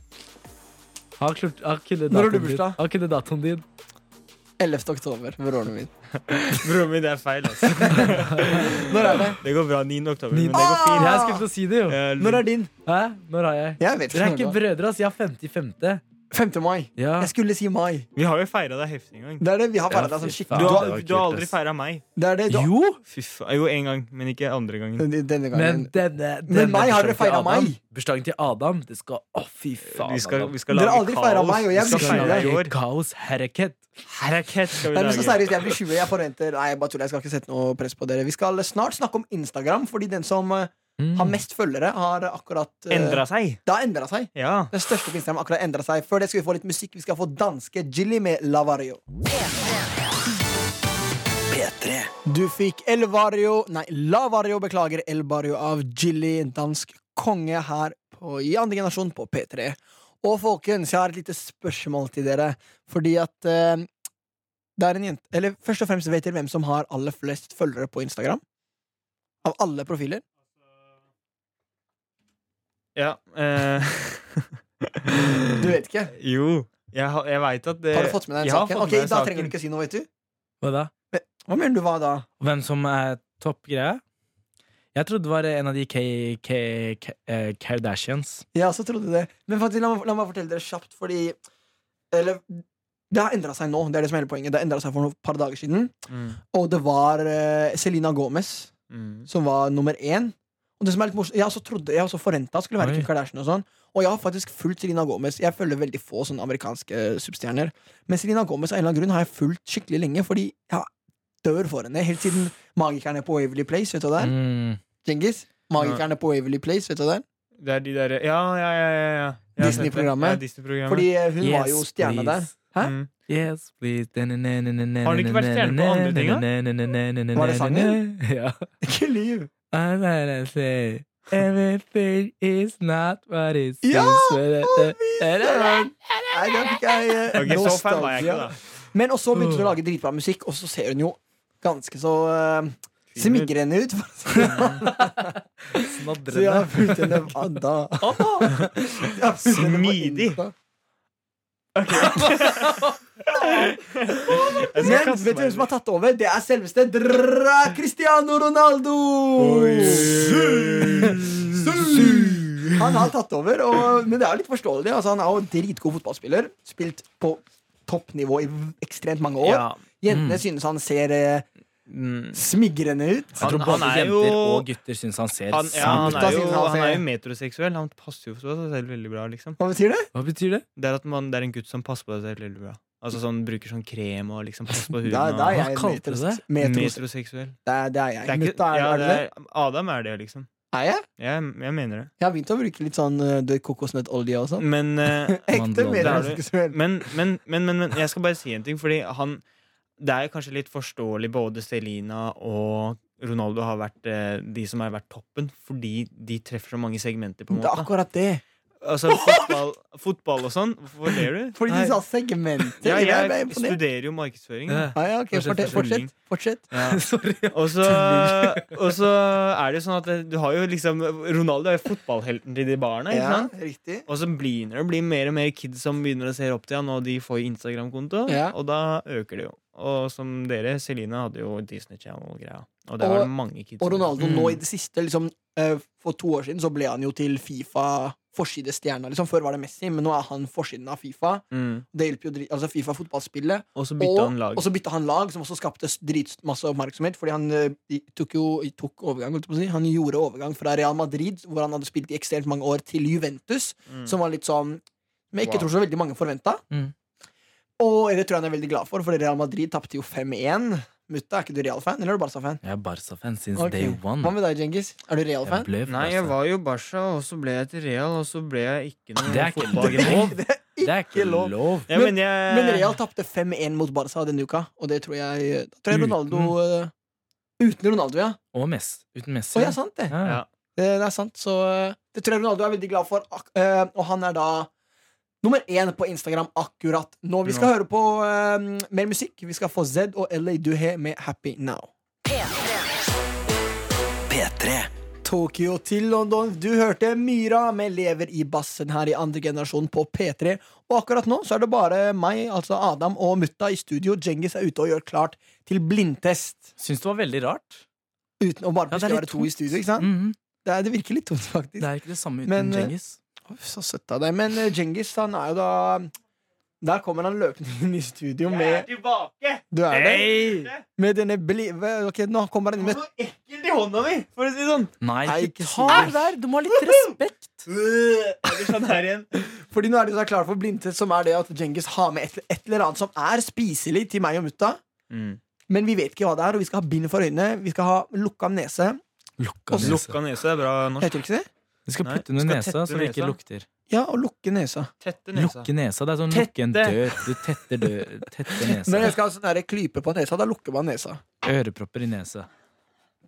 [SPEAKER 4] Har klart, har kunnet
[SPEAKER 2] Når har du
[SPEAKER 4] datoen din.
[SPEAKER 2] bursdag?
[SPEAKER 4] Har kunnet datoen din.
[SPEAKER 2] 11. oktober. Broren min.
[SPEAKER 3] Broren min, det er feil, altså.
[SPEAKER 2] Når er det?
[SPEAKER 3] Det går bra. 9. oktober. Men
[SPEAKER 4] Min-
[SPEAKER 3] det går
[SPEAKER 2] Ah!
[SPEAKER 3] fint.
[SPEAKER 4] Jeg skulle til å si det, jo.
[SPEAKER 3] Eh,
[SPEAKER 2] Når er din?
[SPEAKER 4] Hæ? Når har jeg?
[SPEAKER 2] Jeg vet
[SPEAKER 4] Dere
[SPEAKER 2] ikke. når
[SPEAKER 4] er ikke
[SPEAKER 2] det var.
[SPEAKER 4] brødre, ass. Jeg har 55.
[SPEAKER 2] 5. mai.
[SPEAKER 4] Ja.
[SPEAKER 2] Jeg skulle si mai.
[SPEAKER 3] Vi har jo feira deg heftig en gang.
[SPEAKER 2] Det er det vi har vært der
[SPEAKER 4] Ja,
[SPEAKER 2] sånn
[SPEAKER 4] fy
[SPEAKER 2] skikkelig.
[SPEAKER 4] faen.
[SPEAKER 3] Du
[SPEAKER 2] Du
[SPEAKER 3] har,
[SPEAKER 2] har,
[SPEAKER 4] det var
[SPEAKER 3] du har
[SPEAKER 4] kult,
[SPEAKER 3] aldri
[SPEAKER 4] ass.
[SPEAKER 3] feira meg.
[SPEAKER 2] det er det. Du har,
[SPEAKER 4] Jo,
[SPEAKER 3] Fy faen. Jo, én gang, men ikke andre gangen.
[SPEAKER 2] denne
[SPEAKER 4] men
[SPEAKER 2] gangen.
[SPEAKER 4] denne, denne
[SPEAKER 2] Men meg har dere
[SPEAKER 4] bursdagen til
[SPEAKER 2] feiret
[SPEAKER 4] Adam-
[SPEAKER 2] meg.
[SPEAKER 4] Bursdagen til Adam, det skal Å, fy faen.
[SPEAKER 3] Vi skal,
[SPEAKER 4] Adam.
[SPEAKER 3] vi skal
[SPEAKER 2] Dere
[SPEAKER 3] lage
[SPEAKER 2] har aldri feiret
[SPEAKER 3] kaos.
[SPEAKER 2] meg, og jeg
[SPEAKER 3] vi
[SPEAKER 4] Vi
[SPEAKER 3] skal
[SPEAKER 2] blir sure.
[SPEAKER 4] skal
[SPEAKER 3] feire deg i
[SPEAKER 4] lage
[SPEAKER 3] år.
[SPEAKER 4] kaos hereket.
[SPEAKER 3] Herrakett skal vi
[SPEAKER 2] Nei, men så
[SPEAKER 3] lage.
[SPEAKER 2] seriøst, jeg blir 20. Jeg forventer Nei, jeg bare tuller. Jeg skal ikke sette noe press på dere. Vi skal snart snakke om Instagram, fordi den som eh,
[SPEAKER 4] Mm.
[SPEAKER 2] har mest følgere, har akkurat eh,
[SPEAKER 3] Endra seg.
[SPEAKER 2] Det har endra seg.
[SPEAKER 3] Ja.
[SPEAKER 2] Den største på Instagram har akkurat endra seg. Før det skal vi få litt musikk. Vi skal få danske Jilly med Lavario.
[SPEAKER 1] P3
[SPEAKER 2] Du fikk El Vario Nei, La Vario, beklager. El Vario av Jilly, dansk konge her på, i andre generasjon på P3. Og folkens, jeg har et lite spørsmål til dere. Fordi at eh, det er en jente Eller først og fremst, vet dere hvem som har aller flest følgere på Instagram? Av alle profiler?
[SPEAKER 3] ja. eh. *laughs*
[SPEAKER 2] Du vet ikke?
[SPEAKER 3] Jo. Jeg, har- jeg veit at det
[SPEAKER 2] Har du fått med deg den
[SPEAKER 3] Eh, Jeg har
[SPEAKER 2] saken?
[SPEAKER 3] fått
[SPEAKER 2] Ok,
[SPEAKER 3] med meg
[SPEAKER 2] Da
[SPEAKER 3] saken.
[SPEAKER 2] trenger du ikke si noe, vet du.
[SPEAKER 4] Hva da?
[SPEAKER 2] Hva mener du hva da?
[SPEAKER 4] Hvem som er toppgreia? Jeg trodde det var en av de K... K... K... eh, Kardashians.
[SPEAKER 2] Jeg også trodde det. Men faktisk, la, meg, la meg fortelle dere kjapt, fordi Eller Det har endra seg nå. Det er det som er hele poenget. Det har endra seg for et par dager siden.
[SPEAKER 3] Mm.
[SPEAKER 2] Og det var eh, Selena Gomez
[SPEAKER 3] Mm.
[SPEAKER 2] som var nummer én. Og det som er litt morsomt Jeg også trodde Jeg også forventa skulle være
[SPEAKER 4] Oi.
[SPEAKER 2] Kim Kardashian. Og sånn Og jeg har faktisk fulgt Selena Gomez. Jeg følger veldig få sånne amerikanske eh, superstjerner. Men Selena Gomez av en eller annen grunn har jeg fulgt skikkelig lenge, fordi jeg dør for henne. Helt siden Magikerne på Waverly Place, vet du hva det er?
[SPEAKER 4] Mm.
[SPEAKER 2] Genghis? Magikerne på Waverly Place, vet du hva det er?
[SPEAKER 3] Det er de derre Ja, ja, ja. ja, ja. Jeg har sett det.
[SPEAKER 2] Disney-programmet.
[SPEAKER 3] Ja, Disney-programmet.
[SPEAKER 2] Fordi eh, hun var jo
[SPEAKER 4] Yes,
[SPEAKER 2] stjerna der.
[SPEAKER 4] please.
[SPEAKER 2] Hæ?
[SPEAKER 3] Mm.
[SPEAKER 4] Yes, please. Har
[SPEAKER 3] Har du ikke vært stjerne på andre ting,
[SPEAKER 4] da?
[SPEAKER 2] Var det sangen?
[SPEAKER 4] *laughs* Ja.
[SPEAKER 2] *laughs* Ikke lyv!
[SPEAKER 4] I wanna say everything is not what it seems.
[SPEAKER 2] Ja!
[SPEAKER 4] But- eh,
[SPEAKER 2] Nei, da fikk jeg eh,
[SPEAKER 3] Ok, så fan var jeg
[SPEAKER 2] nostalgia.
[SPEAKER 3] ikke, da.
[SPEAKER 2] Men også begynte hun å lage dritbra musikk, og så ser hun jo ganske så uh, smigrende ut. for å si det
[SPEAKER 4] *laughs*
[SPEAKER 2] sånn. Så jeg har fulgt henne ah, da. Jeg har fulgt henne på
[SPEAKER 3] Smidig.
[SPEAKER 2] Insta.
[SPEAKER 3] Jeg skal
[SPEAKER 2] Men
[SPEAKER 3] kaste
[SPEAKER 2] vet du
[SPEAKER 3] meg
[SPEAKER 2] hvem som har tatt over? Det er selveste drrra, Cristiano Ronaldo! Su. Han har tatt over, og, men det er jo litt forståelig. Altså, han er jo en dritgod fotballspiller. Spilt på toppnivå i ekstremt mange år.
[SPEAKER 3] Ja.
[SPEAKER 2] Jentene synes han ser eh,
[SPEAKER 3] Mm.
[SPEAKER 2] smigrende ut.
[SPEAKER 4] Han,
[SPEAKER 3] tror
[SPEAKER 4] han
[SPEAKER 3] både
[SPEAKER 4] er jo
[SPEAKER 3] jenter og
[SPEAKER 4] og gutter syns han ser
[SPEAKER 3] Han, ja, han,
[SPEAKER 2] Da
[SPEAKER 3] er
[SPEAKER 2] sier
[SPEAKER 3] jo,
[SPEAKER 2] han seg-
[SPEAKER 3] han er jo metroseksuell. Han passer jo på seg selv veldig bra. liksom
[SPEAKER 2] Hva betyr det?
[SPEAKER 4] Hva betyr det?
[SPEAKER 3] Det er at man, det er en gutt som passer på seg selv veldig bra. Altså sånn Bruker sånn krem og liksom passer
[SPEAKER 2] *laughs*
[SPEAKER 3] på huden.
[SPEAKER 2] Da, da er
[SPEAKER 4] Hva
[SPEAKER 2] jeg
[SPEAKER 4] kalte du
[SPEAKER 2] metros-
[SPEAKER 4] det?
[SPEAKER 2] metros-
[SPEAKER 3] metroseksuell.
[SPEAKER 2] Det er, det er
[SPEAKER 3] Det
[SPEAKER 2] jeg.
[SPEAKER 3] er ikke,
[SPEAKER 2] Mutta, er,
[SPEAKER 3] ja,
[SPEAKER 2] er
[SPEAKER 3] det
[SPEAKER 2] det det?
[SPEAKER 3] er, Adam er det, liksom.
[SPEAKER 2] Er jeg?
[SPEAKER 3] Jeg, jeg mener det.
[SPEAKER 2] Jeg har begynt å bruke litt sånn eh, det kokosnøttolje og sånn.
[SPEAKER 3] Men, eh,
[SPEAKER 2] Ekte
[SPEAKER 4] Mandel-
[SPEAKER 2] metroseksuell.
[SPEAKER 3] men, men, men, men, men jeg skal bare si en ting, fordi han Det er kanskje litt forståelig både Celina og Ronaldo har vært eh, de som har vært toppen, fordi de treffer så mange segmenter. på en
[SPEAKER 2] Det er
[SPEAKER 3] måte
[SPEAKER 2] akkurat det.
[SPEAKER 3] Altså fotball, fotball og sånn. Hvorfor ler du?
[SPEAKER 2] Fordi
[SPEAKER 4] Nei.
[SPEAKER 2] de sa segmenter.
[SPEAKER 3] Ja,
[SPEAKER 2] jeg ble
[SPEAKER 3] jeg
[SPEAKER 2] imponert.
[SPEAKER 3] studerer jo markedsføring.
[SPEAKER 2] Ja, ja, ok,
[SPEAKER 4] Fortsett,
[SPEAKER 2] fortsett,
[SPEAKER 3] fortsett.
[SPEAKER 2] fortsett, fortsett.
[SPEAKER 4] *laughs* Sorry.
[SPEAKER 3] Og så, og så er det jo sånn at det- du har jo liksom Ronaldo er jo fotballhelten til de barna. Ikke
[SPEAKER 2] Ja,
[SPEAKER 3] sant?
[SPEAKER 2] riktig.
[SPEAKER 3] Og så begynner det å bli mer og mer kids som begynner å se opp til han og de får Instagram-konto.
[SPEAKER 2] Ja.
[SPEAKER 3] Og da øker det jo. Og som dere, Celine hadde jo Disney Channel-greia. Og der
[SPEAKER 2] Og-
[SPEAKER 3] var det mange kids.
[SPEAKER 2] Og
[SPEAKER 3] som-
[SPEAKER 2] Ronaldo
[SPEAKER 4] Mm.
[SPEAKER 2] nå i det siste, liksom, eh, for to år siden, så ble han jo til Fifa forsidestjerna. Liksom. Før var det Messi, men nå er han forsiden av Fifa.
[SPEAKER 3] Mm.
[SPEAKER 2] Det hjelper jo dri- altså Fifa-fotballspillet.
[SPEAKER 3] Og
[SPEAKER 2] Og,
[SPEAKER 3] så bytta han lag.
[SPEAKER 2] og så bytta han lag, som også skapte s- dritmasse oppmerksomhet. Fordi han eh, i- tok jo i- tok overgang, holdt jeg på å si. Han gjorde overgang fra Real Madrid, hvor han hadde spilt i ekstremt mange år, til Juventus,
[SPEAKER 3] Mm.
[SPEAKER 2] som var litt sånn Som jeg ikke
[SPEAKER 3] Wow.
[SPEAKER 2] tror så veldig mange forventa.
[SPEAKER 4] Mm.
[SPEAKER 2] Og det tror jeg han er veldig glad for, for Real Madrid tapte jo 5-1. Mutta, er ikke du Real-fan, eller er du Barca-fan?
[SPEAKER 4] Jeg er Barca-fan siden
[SPEAKER 2] Ok.
[SPEAKER 4] day
[SPEAKER 2] Hva
[SPEAKER 4] one.
[SPEAKER 2] med deg, Djengis? Er du
[SPEAKER 4] Jeg
[SPEAKER 2] Real-fan?
[SPEAKER 4] ble
[SPEAKER 3] Nei, jeg var jo Barca, og så ble jeg til Real, og så ble jeg ikke noe
[SPEAKER 4] Det er ikke
[SPEAKER 3] fotballgreie. *laughs*
[SPEAKER 4] lov!
[SPEAKER 2] Det er
[SPEAKER 4] Det er ikke
[SPEAKER 2] lov.
[SPEAKER 4] lov.
[SPEAKER 3] Ja, men, jeg,
[SPEAKER 2] Men Real tapte 5-1 mot Barca denne uka, og det tror jeg, da tror jeg Ronaldo eh, Uten Ronaldo, ja.
[SPEAKER 4] Og Messi. Uten Messi.
[SPEAKER 2] Å, ja, sant det.
[SPEAKER 4] Ja.
[SPEAKER 3] Ja.
[SPEAKER 2] det. Det er sant. Så eh, det tror jeg Ronaldo er veldig glad for, ak eh, og han er da nummer én på Instagram akkurat nå. Vi skal høre på eh, mer musikk. Vi skal få Zed og LA Duhe med Happy Now.
[SPEAKER 1] P3
[SPEAKER 2] Tokyo til London. Du hørte Myra med Lever i bassen her i andre generasjon på P3. Og akkurat nå så er det bare meg, altså Adam og mutta i studio. Djengis er ute og gjør klart til blindtest.
[SPEAKER 4] Syns det var veldig rart.
[SPEAKER 2] Uten å bare
[SPEAKER 4] Ja,
[SPEAKER 2] plutselig
[SPEAKER 4] det er litt
[SPEAKER 2] være to
[SPEAKER 4] tungt.
[SPEAKER 2] i studio, ikke sant?
[SPEAKER 4] Mhm.
[SPEAKER 2] Det, er, det virker litt tungt, faktisk.
[SPEAKER 4] Det er ikke det samme uten
[SPEAKER 2] Men, eh,
[SPEAKER 4] Djengis.
[SPEAKER 2] Å, Så søtt av deg. Men eh, Djengis, han er jo da Der kommer han løpende inn i studio med
[SPEAKER 3] tilbake!
[SPEAKER 2] Du er det?
[SPEAKER 3] Hey!
[SPEAKER 2] Med denne bli... Ok, nå kommer han inn med
[SPEAKER 3] noe ekkelt i hånda mi, for å si det sånn.
[SPEAKER 4] Nei,
[SPEAKER 2] Nei,
[SPEAKER 4] ikke
[SPEAKER 2] ikke
[SPEAKER 4] ta
[SPEAKER 2] si det.
[SPEAKER 4] der! Du må ha litt respekt.
[SPEAKER 3] Jeg blir sånn her igjen.
[SPEAKER 2] Fordi nå er det jo da klar for blindtest, som er det at Djengis har med et, et eller annet som er spiselig til meg og mutta.
[SPEAKER 3] Mm.
[SPEAKER 2] Men vi vet ikke hva det er, og vi skal ha bind for øynene. Vi skal ha lukka nese.
[SPEAKER 4] Lukka
[SPEAKER 2] Og
[SPEAKER 4] nese.
[SPEAKER 3] Lukka nese er bra norsk.
[SPEAKER 2] Heter det ikke det?
[SPEAKER 4] Du skal
[SPEAKER 3] Nei,
[SPEAKER 4] putte under
[SPEAKER 3] skal
[SPEAKER 4] nesa
[SPEAKER 3] tette
[SPEAKER 4] så det ikke
[SPEAKER 3] nesa.
[SPEAKER 4] lukter.
[SPEAKER 2] Ja, og lukke nesa.
[SPEAKER 3] Tette nesa.
[SPEAKER 4] Lukke nesa. Det er sånn lukke en
[SPEAKER 3] Tette.
[SPEAKER 4] dør. Du tetter dør. Tette nesa.
[SPEAKER 2] Når jeg skal ha sånn der klype på nesa, da lukker man nesa.
[SPEAKER 4] Ørepropper i nesa.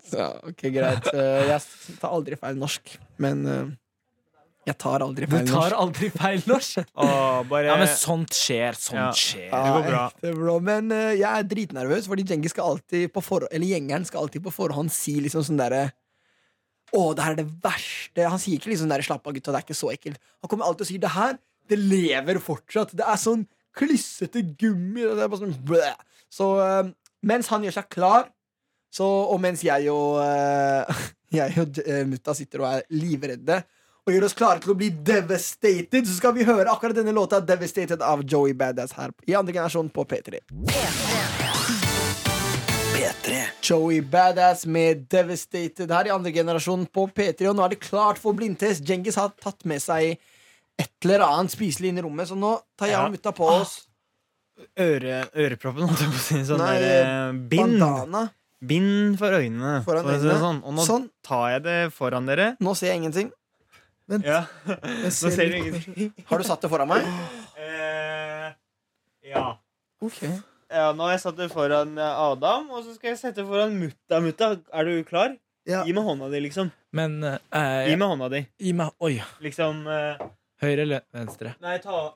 [SPEAKER 2] Så, ja, ok, greit. Eh, Jeg tar aldri feil norsk, men eh, jeg tar aldri feil norsk.
[SPEAKER 4] aldri feil norsk.
[SPEAKER 3] Åh, bare
[SPEAKER 4] Ja, men sånt skjer. Sånt
[SPEAKER 3] Ja.
[SPEAKER 4] skjer.
[SPEAKER 2] Ja,
[SPEAKER 3] det går bra.
[SPEAKER 2] ekte, bro. Men eh, jeg er dritnervøs, fordi Djengis skal alltid på forhånd, eller gjengeren skal alltid på forhånd si liksom sånn derre Å, det her er det verste. Han sier ikke liksom der, 'slapp av, gutta, det er ikke så ekkelt'. Han kommer alltid og sier 'det her, det lever fortsatt'. Det er sånn klissete gummi. og Det er bare sånn blæ. Så eh, mens han gjør seg klar, så, og mens jeg og, eh, *laughs* jeg og eh, mutta sitter og er livredde og gjør oss klare til å bli devastated, så skal vi høre akkurat denne låta 'Devastated' av Joey Badass her i andre generasjon på P3.
[SPEAKER 1] P3
[SPEAKER 2] Joey Badass med 'Devastated' her i andre generasjon på P3, og nå er det klart for blindtest. Djengis har tatt med seg et eller annet spiselig inn i rommet, så nå tar jeg
[SPEAKER 3] Ja. Ah,
[SPEAKER 2] og mutta på oss
[SPEAKER 3] Øre, øreproppen, holdt jeg på å si. Sånn
[SPEAKER 2] Nei,
[SPEAKER 3] der eh, bind.
[SPEAKER 2] bandana.
[SPEAKER 3] Bind for øynene.
[SPEAKER 2] Foran
[SPEAKER 3] for å si det
[SPEAKER 2] øynene.
[SPEAKER 3] Sånn. Og nå
[SPEAKER 2] Sånn.
[SPEAKER 3] tar jeg det foran dere.
[SPEAKER 2] Nå ser jeg ingenting. Vent.
[SPEAKER 3] Ja. *laughs* Nå
[SPEAKER 2] ser
[SPEAKER 3] ser du
[SPEAKER 2] litt-
[SPEAKER 3] ingenting.
[SPEAKER 2] Har du satt det foran meg?
[SPEAKER 3] *gasps* Eh, ja.
[SPEAKER 2] Ok
[SPEAKER 3] Ja, nå har jeg satt det foran eh, Adam, og så skal jeg sette det foran mutta. Mutta, er du klar?
[SPEAKER 2] Ja.
[SPEAKER 3] Gi meg hånda di, liksom.
[SPEAKER 4] Men eh,
[SPEAKER 3] Gi meg hånda di.
[SPEAKER 4] gi meg Oi.
[SPEAKER 3] Liksom eh,
[SPEAKER 4] Høyre eller venstre?
[SPEAKER 3] Nei, ta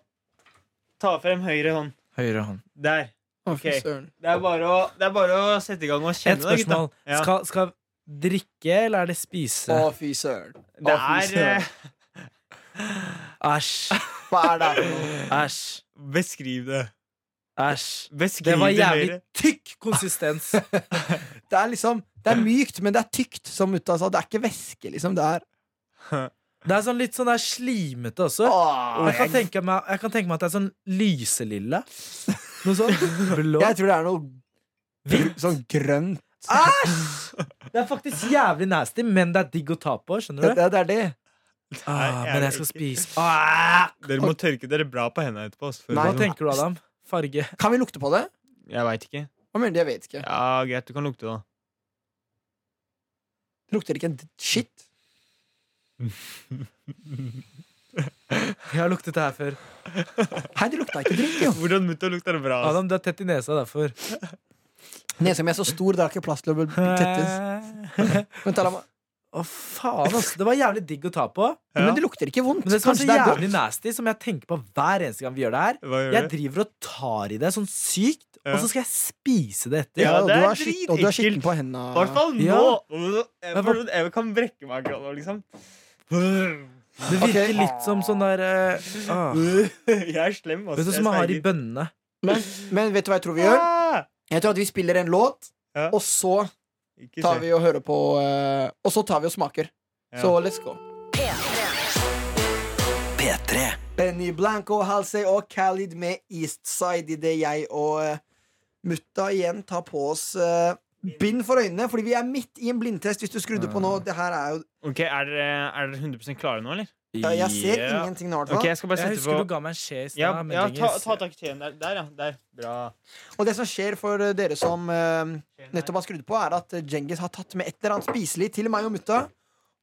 [SPEAKER 3] Ta frem høyre hånd.
[SPEAKER 4] Høyre hånd.
[SPEAKER 3] Der.
[SPEAKER 2] Å, fy
[SPEAKER 3] Ok.
[SPEAKER 2] søren.
[SPEAKER 3] Det er bare å, det er bare å sette i gang og kjenne
[SPEAKER 4] Et
[SPEAKER 3] det, gutta.
[SPEAKER 4] spørsmål.
[SPEAKER 3] Ja.
[SPEAKER 4] Skal, skal drikke, eller er det spise?
[SPEAKER 2] Å, fy søren.
[SPEAKER 3] Det
[SPEAKER 2] Å, fy
[SPEAKER 3] er
[SPEAKER 2] søren.
[SPEAKER 3] eh,
[SPEAKER 4] Æsj.
[SPEAKER 2] Hva er det her for noe?
[SPEAKER 4] Æsj.
[SPEAKER 3] Beskriv det.
[SPEAKER 4] Æsj.
[SPEAKER 3] Beskriv
[SPEAKER 4] Det var
[SPEAKER 3] det
[SPEAKER 4] jævlig
[SPEAKER 3] høyre.
[SPEAKER 4] tykk konsistens.
[SPEAKER 2] Det er liksom Det er mykt, men det er tykt, som mutta sa. Det er ikke væske, liksom. Det er
[SPEAKER 4] Det er sånn litt sånn der slimete også.
[SPEAKER 2] Åh,
[SPEAKER 4] Jeg kan tenke meg, jeg kan tenke meg at det er sånn lyselilla. Noe sånn sånt. Blå.
[SPEAKER 2] Jeg tror det er noe
[SPEAKER 4] Hvitt.
[SPEAKER 2] sånn grønt.
[SPEAKER 4] Æsj! Det er faktisk jævlig nasty, men det er digg å ta på.
[SPEAKER 2] Det,
[SPEAKER 4] skjønner du?
[SPEAKER 2] det, det er det.
[SPEAKER 4] Ah, men jeg skal
[SPEAKER 3] ikke.
[SPEAKER 4] spise ah!
[SPEAKER 3] Dere må tørke dere bra på hendene etterpå. ass, før
[SPEAKER 2] Nei,
[SPEAKER 4] Hva
[SPEAKER 3] dere-
[SPEAKER 4] tenker du, Adam? Farge?
[SPEAKER 2] Kan vi lukte på det?
[SPEAKER 3] sånn. Jeg veit ikke.
[SPEAKER 2] Hva mener du? Jeg vet ikke.
[SPEAKER 3] Ja, Greit, du kan lukte, da.
[SPEAKER 2] Det lukter ikke en d- shit.
[SPEAKER 4] Jeg har luktet det her før.
[SPEAKER 2] Hei, det lukta ikke dritt, jo.
[SPEAKER 3] Hvordan mutta lukter det bra? ass.
[SPEAKER 4] Adam, du er tett i nesa derfor.
[SPEAKER 2] Nesa mi er så stor, det er ikke plass til å bli tettes. Vent, da, la meg-
[SPEAKER 4] *laughs* Å, faen, altså. Det var jævlig digg å ta på.
[SPEAKER 3] Ja.
[SPEAKER 2] Men det lukter ikke vondt.
[SPEAKER 4] Men det som er
[SPEAKER 2] Kanskje
[SPEAKER 4] så
[SPEAKER 2] det er
[SPEAKER 4] jævlig
[SPEAKER 2] godt.
[SPEAKER 4] nasty, som jeg tenker på hver eneste gang vi gjør det her
[SPEAKER 3] Hva gjør
[SPEAKER 4] Jeg
[SPEAKER 3] du?
[SPEAKER 4] driver og tar i det sånn sykt, og så skal jeg spise det etter.
[SPEAKER 3] Ja,
[SPEAKER 2] og
[SPEAKER 3] det
[SPEAKER 2] du
[SPEAKER 3] er
[SPEAKER 2] har skitt- Og du er skitten
[SPEAKER 3] dritekkelt.
[SPEAKER 2] på
[SPEAKER 3] I hvert
[SPEAKER 2] henda.
[SPEAKER 3] fall
[SPEAKER 4] Ja.
[SPEAKER 3] nå! Jeg, for- jeg kan brekke meg akkurat nå, *laughs* liksom.
[SPEAKER 4] Det virker litt som sånn der eh, ah.
[SPEAKER 3] Mm. Jeg er slem, ass.
[SPEAKER 4] Vet du
[SPEAKER 3] Jeg
[SPEAKER 4] som jeg har i
[SPEAKER 3] sverger.
[SPEAKER 4] bønnene?
[SPEAKER 2] Men, men vet du hva jeg tror vi gjør?
[SPEAKER 3] Ah!
[SPEAKER 2] Jeg tror at vi spiller en låt,
[SPEAKER 3] Ja.
[SPEAKER 2] og så
[SPEAKER 3] Ikke
[SPEAKER 2] tar
[SPEAKER 3] se.
[SPEAKER 2] vi og hører på eh, Og så tar vi og smaker.
[SPEAKER 3] Ja.
[SPEAKER 2] Så let's go.
[SPEAKER 5] P3.
[SPEAKER 1] P3
[SPEAKER 2] Benny Blanco, Halsey og Khalid med Eastside idet jeg og eh, mutta igjen tar på oss eh, bind for øynene, fordi vi er midt i en blindtest. Hvis du skrudde på
[SPEAKER 3] Mm.
[SPEAKER 2] nå, det her er jo
[SPEAKER 3] Ok, Er dere er dere 100 klare nå, eller?
[SPEAKER 2] Ja, Jeg ser
[SPEAKER 3] Ja.
[SPEAKER 2] ingenting nå, i hvert
[SPEAKER 3] Ok,
[SPEAKER 2] fall.
[SPEAKER 3] Jeg skal bare
[SPEAKER 4] Jeg
[SPEAKER 3] sette
[SPEAKER 4] husker du
[SPEAKER 3] på
[SPEAKER 4] ga meg en skje i stad.
[SPEAKER 3] Ja,
[SPEAKER 4] men
[SPEAKER 3] ja
[SPEAKER 4] lenger-
[SPEAKER 3] ta, ta tak i teen der. Der, ja. Der. Bra.
[SPEAKER 2] Og det som skjer for eh, dere som eh, nettopp har skrudd på, er at Djengis har tatt med et eller annet spiselig til meg og mutta.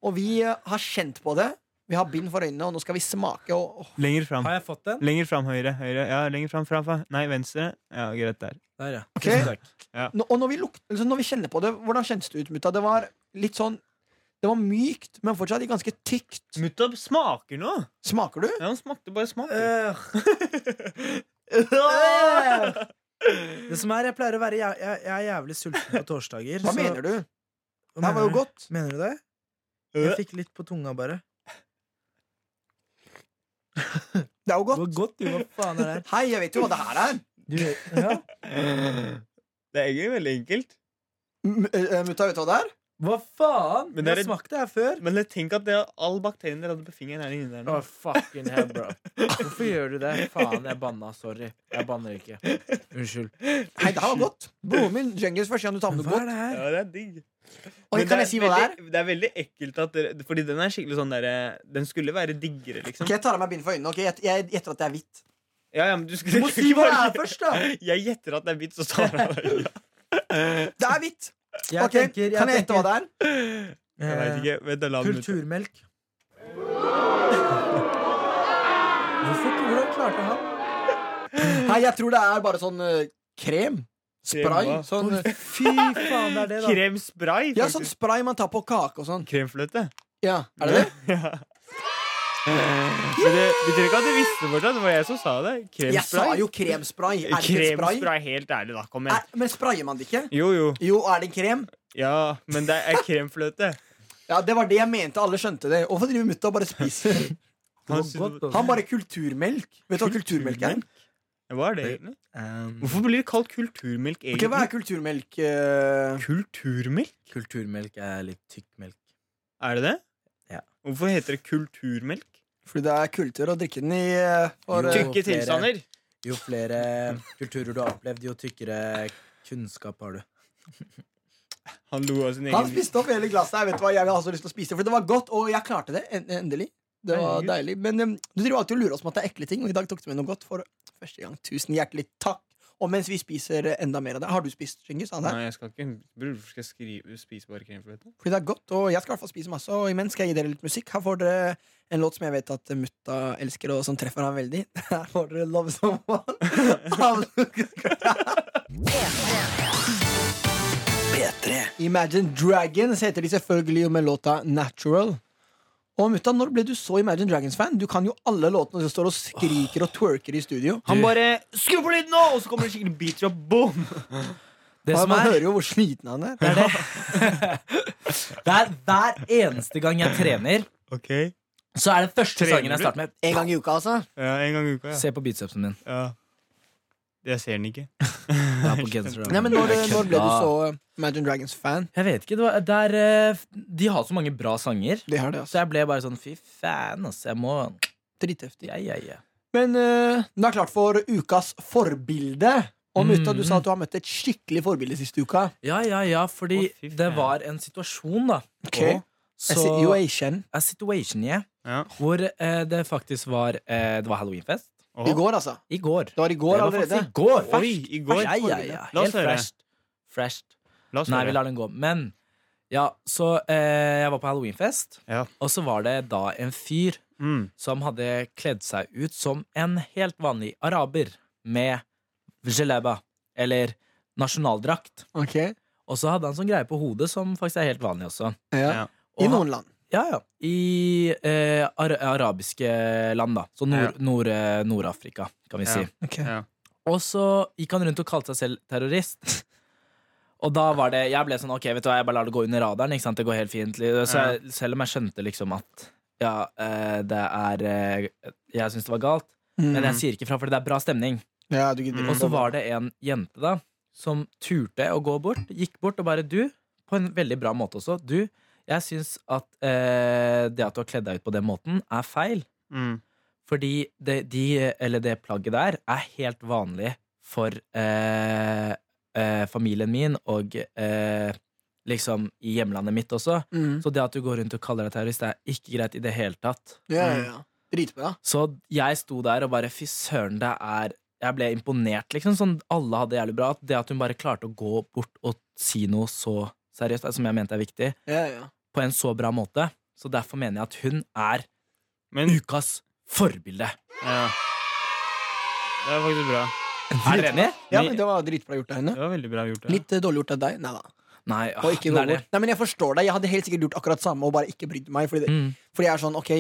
[SPEAKER 2] Og vi eh, har kjent på det. Vi har bind for øynene, og nå skal vi smake. Og, åh,
[SPEAKER 3] Lenger fram.
[SPEAKER 4] Har jeg fått den?
[SPEAKER 3] Lenger fram høyre. høyre. Ja, lenger fram, fram, fram. Nei, venstre. Ja, greit der.
[SPEAKER 4] Der, ja.
[SPEAKER 2] Ok.
[SPEAKER 4] Tusen takk.
[SPEAKER 2] Nå- og når, vi luk, altså når vi kjenner på det, hvordan kjennes det ut, mutta? Det var litt sånn Det var mykt, men fortsatt ganske tykt.
[SPEAKER 3] Mutta smaker noe!
[SPEAKER 2] Smaker du?
[SPEAKER 3] Ja, han smakte bare smak.
[SPEAKER 2] Eh. *laughs*
[SPEAKER 4] Det som er, jeg pleier å være jæ- jeg, jeg er jævlig sulten *laughs* på torsdager.
[SPEAKER 2] Hva mener du? Det her var jo godt.
[SPEAKER 4] Mener du det? Jeg
[SPEAKER 3] Øh.
[SPEAKER 4] fikk litt på tunga, bare.
[SPEAKER 2] Det er jo
[SPEAKER 4] Det
[SPEAKER 2] godt.
[SPEAKER 4] var godt, jo. Hva faen er det her?
[SPEAKER 2] Hei, jeg vet jo hva det her er.
[SPEAKER 4] Du, ja.
[SPEAKER 3] Det er egentlig veldig enkelt.
[SPEAKER 2] M- eh, Mutta, vet du hva det er?
[SPEAKER 4] Hva faen?
[SPEAKER 3] Men
[SPEAKER 4] Men
[SPEAKER 3] det er
[SPEAKER 4] Jeg
[SPEAKER 3] et-
[SPEAKER 4] smakte det her før.
[SPEAKER 3] Men jeg tenk at det, all bakterien dere hadde på fingeren, er inni der nå.
[SPEAKER 4] Å, fucking hell, bro. Hvorfor gjør du det? Faen, jeg banna. Sorry. Jeg banner ikke. Unnskyld.
[SPEAKER 2] Hei, det her var godt. Broren min, Djengis, første gang du tar med noe
[SPEAKER 4] Hva er
[SPEAKER 2] godt.
[SPEAKER 4] det her?
[SPEAKER 3] Ja, det er digg.
[SPEAKER 2] Oi,
[SPEAKER 3] Men
[SPEAKER 2] kan
[SPEAKER 3] det
[SPEAKER 2] jeg si hva det er?
[SPEAKER 3] veldig, det er veldig ekkelt at dere Fordi den er skikkelig sånn derre Den skulle være diggere, liksom.
[SPEAKER 2] Ok, Jeg tar av meg bind for øynene. ok? Jeg- Jeg gjetter at det er hvitt.
[SPEAKER 3] Ja, ja, men du
[SPEAKER 2] Du
[SPEAKER 3] skulle
[SPEAKER 2] må si hva det er først, da!
[SPEAKER 3] Jeg gjetter at det er vits, og
[SPEAKER 2] *laughs*
[SPEAKER 3] så tar jeg det.
[SPEAKER 2] Det er hvitt.
[SPEAKER 4] Jeg eh,
[SPEAKER 2] Ok, Kan jeg gjette hva det er?
[SPEAKER 3] Jeg vet ikke. Vent, da la den ut.
[SPEAKER 4] Kulturmelk. Hvorfor hvordan klarte han
[SPEAKER 2] Nei, jeg tror det er bare sånn eh, krem. Spray.
[SPEAKER 3] Krem, hva?
[SPEAKER 2] Sånn, eh,
[SPEAKER 4] Fy faen, det er det, da.
[SPEAKER 3] Kremspray,
[SPEAKER 2] ja, sånn
[SPEAKER 3] faktisk.
[SPEAKER 2] spray man tar på kake og sånn.
[SPEAKER 3] Kremfløte.
[SPEAKER 2] Ja, Er det det?
[SPEAKER 3] Ja. Men det betyr ikke at du visste fortsatt. Det var jeg som sa det. Kremspray.
[SPEAKER 2] Jeg sa jo kremspray. Er det ikke spray?
[SPEAKER 3] Kremspray, helt ærlig, da. Kom
[SPEAKER 2] Er,
[SPEAKER 3] igjen.
[SPEAKER 2] men sprayer man det ikke?
[SPEAKER 3] Jo, jo.
[SPEAKER 2] Jo, er det en krem?
[SPEAKER 3] Ja, men det er kremfløte.
[SPEAKER 2] Ja, Det var det jeg mente. Alle skjønte det. Hvorfor driver mutta og bare spiser?
[SPEAKER 3] Han
[SPEAKER 4] Det var
[SPEAKER 3] synes-
[SPEAKER 4] godt, altså.
[SPEAKER 2] Han bare kulturmelk. Vet du hva kulturmelk er?
[SPEAKER 3] Hva er det egentlig?
[SPEAKER 4] Ehm,
[SPEAKER 3] Hvorfor blir det kalt kulturmelk
[SPEAKER 2] Ok,
[SPEAKER 3] egentlig?
[SPEAKER 2] Hva er kulturmelk? eh?
[SPEAKER 3] Kulturmelk?
[SPEAKER 4] Kulturmelk er litt tykk melk.
[SPEAKER 3] Er det det?
[SPEAKER 4] Ja.
[SPEAKER 3] Hvorfor heter det kulturmelk?
[SPEAKER 2] Fordi det er kultur å drikke den i eh, for,
[SPEAKER 4] Jo.
[SPEAKER 2] eh,
[SPEAKER 3] Tykke
[SPEAKER 4] flere-
[SPEAKER 3] tilstander.
[SPEAKER 4] Jo flere um, kulturer du har opplevd, jo tykkere kunnskap har du.
[SPEAKER 3] Han lo av sin
[SPEAKER 2] Han
[SPEAKER 3] egen
[SPEAKER 2] spiste opp hele glasset. Jeg vet hva, jeg har så lyst til å spise det, for det var godt, og jeg klarte det. En endelig. Det var
[SPEAKER 3] Herregud.
[SPEAKER 2] deilig. Men eh, du driver alltid og lurer oss med at det er ekle ting, og i dag tok du med noe godt for første gang. Tusen hjertelig takk. Og mens vi spiser eh, enda mer av det Har du spist, Cengiz? Han der?
[SPEAKER 3] Nei, jeg skal ikke Bror, Hvorfor skal jeg skrive, spise bare kremfløte?
[SPEAKER 2] Fordi det er godt, og jeg skal i hvert fall spise masse. Og imens skal jeg gi dere litt musikk. Her får dere en låt som jeg vet at mutta elsker, og som treffer han veldig. *laughs* Her får dere Love *laughs* Someone av Lucas Graham.
[SPEAKER 1] P3
[SPEAKER 2] Imagine Dragons heter de selvfølgelig jo med låta Natural. Og mutta, når ble du så Imagine Dragons-fan? Du kan jo alle låtene som står og skriker og twerker i studio.
[SPEAKER 3] Han bare Skru på lyden nå! Og så kommer det skikkelig beat drop. Boom!
[SPEAKER 4] Det
[SPEAKER 2] Og
[SPEAKER 4] som
[SPEAKER 2] man
[SPEAKER 4] er,
[SPEAKER 2] hører jo hvor sliten han er.
[SPEAKER 4] det er det. *laughs* det er hver eneste gang jeg trener,
[SPEAKER 3] Ok
[SPEAKER 4] så er det første
[SPEAKER 3] Trener
[SPEAKER 4] sangen jeg
[SPEAKER 3] du?
[SPEAKER 4] starter med.
[SPEAKER 2] En gang i uka, altså.
[SPEAKER 3] Ja, En gang i uka, ja.
[SPEAKER 4] Se på beatstepsen min.
[SPEAKER 3] ja. Jeg ser den ikke.
[SPEAKER 4] Jeg, *laughs* er på genser, da.
[SPEAKER 2] Nei, men når,
[SPEAKER 4] Jeg
[SPEAKER 2] når ble du
[SPEAKER 4] kødda.
[SPEAKER 2] så Imagine Dragons-fan?
[SPEAKER 4] Jeg vet ikke. Det var, det er, eh, de har så mange bra sanger.
[SPEAKER 2] Det har det,
[SPEAKER 4] Så
[SPEAKER 2] altså.
[SPEAKER 4] jeg ble bare sånn fy faen, ass. Jeg må
[SPEAKER 2] Dritheftig.
[SPEAKER 4] ja, ja, ja.
[SPEAKER 2] Men eh, det er klart for ukas forbilde. Og mutta, du
[SPEAKER 4] Mm.
[SPEAKER 2] sa at du har møtt et skikkelig forbilde siste uka.
[SPEAKER 4] ja, ja, ja. Fordi
[SPEAKER 3] Å, fy faen.
[SPEAKER 4] det var en situasjon, da.
[SPEAKER 2] Ok.
[SPEAKER 4] Så
[SPEAKER 2] Situation.
[SPEAKER 4] A situation, yeah.
[SPEAKER 3] Ja.
[SPEAKER 4] Hvor eh, det faktisk var eh, Det var halloweenfest.
[SPEAKER 2] I går, altså.
[SPEAKER 4] I går.
[SPEAKER 2] Det var i går
[SPEAKER 4] det var
[SPEAKER 2] allerede.
[SPEAKER 4] faktisk i går.
[SPEAKER 3] Oi, i går.
[SPEAKER 4] Ja, ja, ja.
[SPEAKER 3] La oss
[SPEAKER 4] Helt
[SPEAKER 3] høre.
[SPEAKER 4] fresht. Fresht.
[SPEAKER 3] La oss
[SPEAKER 4] Nei, vi
[SPEAKER 3] høre.
[SPEAKER 4] lar den gå. Men ja, så eh, jeg var på halloweenfest,
[SPEAKER 3] Ja.
[SPEAKER 4] og så var det da en fyr
[SPEAKER 3] Mm.
[SPEAKER 4] som hadde kledd seg ut som en helt vanlig araber med geleba, eller nasjonaldrakt.
[SPEAKER 2] Ok,
[SPEAKER 4] Og så hadde han sånn greie på hodet som faktisk er helt vanlig også.
[SPEAKER 2] ja.
[SPEAKER 3] Ja.
[SPEAKER 2] I
[SPEAKER 4] Og han-
[SPEAKER 2] noen land.
[SPEAKER 4] ja, ja. I eh, ara- arabiske land, da. Så nord, nord, eh, Nord-Afrika, kan vi
[SPEAKER 3] Ja.
[SPEAKER 4] si.
[SPEAKER 2] Ok.
[SPEAKER 3] Ja.
[SPEAKER 4] Og så gikk han rundt og kalte seg selv terrorist. *laughs* Og da var det Jeg ble sånn Ok, vet du hva, jeg bare lar det gå under radaren. Ikke sant? Det går helt fint. Så jeg, selv om jeg skjønte liksom at ja, eh, det er eh, Jeg syns det var galt, men jeg sier ikke fra fordi det er bra stemning.
[SPEAKER 2] Ja, du gidder
[SPEAKER 3] Mm.
[SPEAKER 2] ikke.
[SPEAKER 4] Og så var det en jente da som turte å gå bort, gikk bort og bare Du, på en veldig bra måte også, du, jeg syns at eh, det at du har kledd deg ut på den måten, er feil.
[SPEAKER 3] Mm.
[SPEAKER 4] Fordi det, de, eller det plagget der er helt vanlig for eh, eh, familien min og eh, liksom i hjemlandet mitt også.
[SPEAKER 2] Mm.
[SPEAKER 4] Så det at du går rundt og kaller deg terrorist, det er ikke greit i det hele tatt.
[SPEAKER 2] Ja, ja, ja. Dritbra.
[SPEAKER 4] Så jeg sto der og bare Fy søren, det er Jeg ble imponert, liksom. Sånn alle hadde det jævlig bra. At det at hun bare klarte å gå bort og si noe så seriøst, altså, som jeg mente er viktig,
[SPEAKER 2] Ja, ja.
[SPEAKER 4] på en så bra måte. Så derfor mener jeg at hun er
[SPEAKER 3] Men
[SPEAKER 4] ukas forbilde.
[SPEAKER 3] ja. Det var faktisk bra.
[SPEAKER 4] Er dere enig?
[SPEAKER 2] ja, men det var dritbra gjort av henne.
[SPEAKER 3] Det var veldig bra gjort. Ja.
[SPEAKER 2] Litt eh, dårlig gjort av deg. Nei da.
[SPEAKER 4] Nei,
[SPEAKER 2] Og ikke
[SPEAKER 4] Ah, *laughs* det er det.
[SPEAKER 2] Robert. Nei, men jeg forstår deg. Jeg hadde helt sikkert gjort akkurat samme og bare ikke brydd meg. Fordi, det,
[SPEAKER 4] Mm.
[SPEAKER 2] fordi jeg er sånn, ok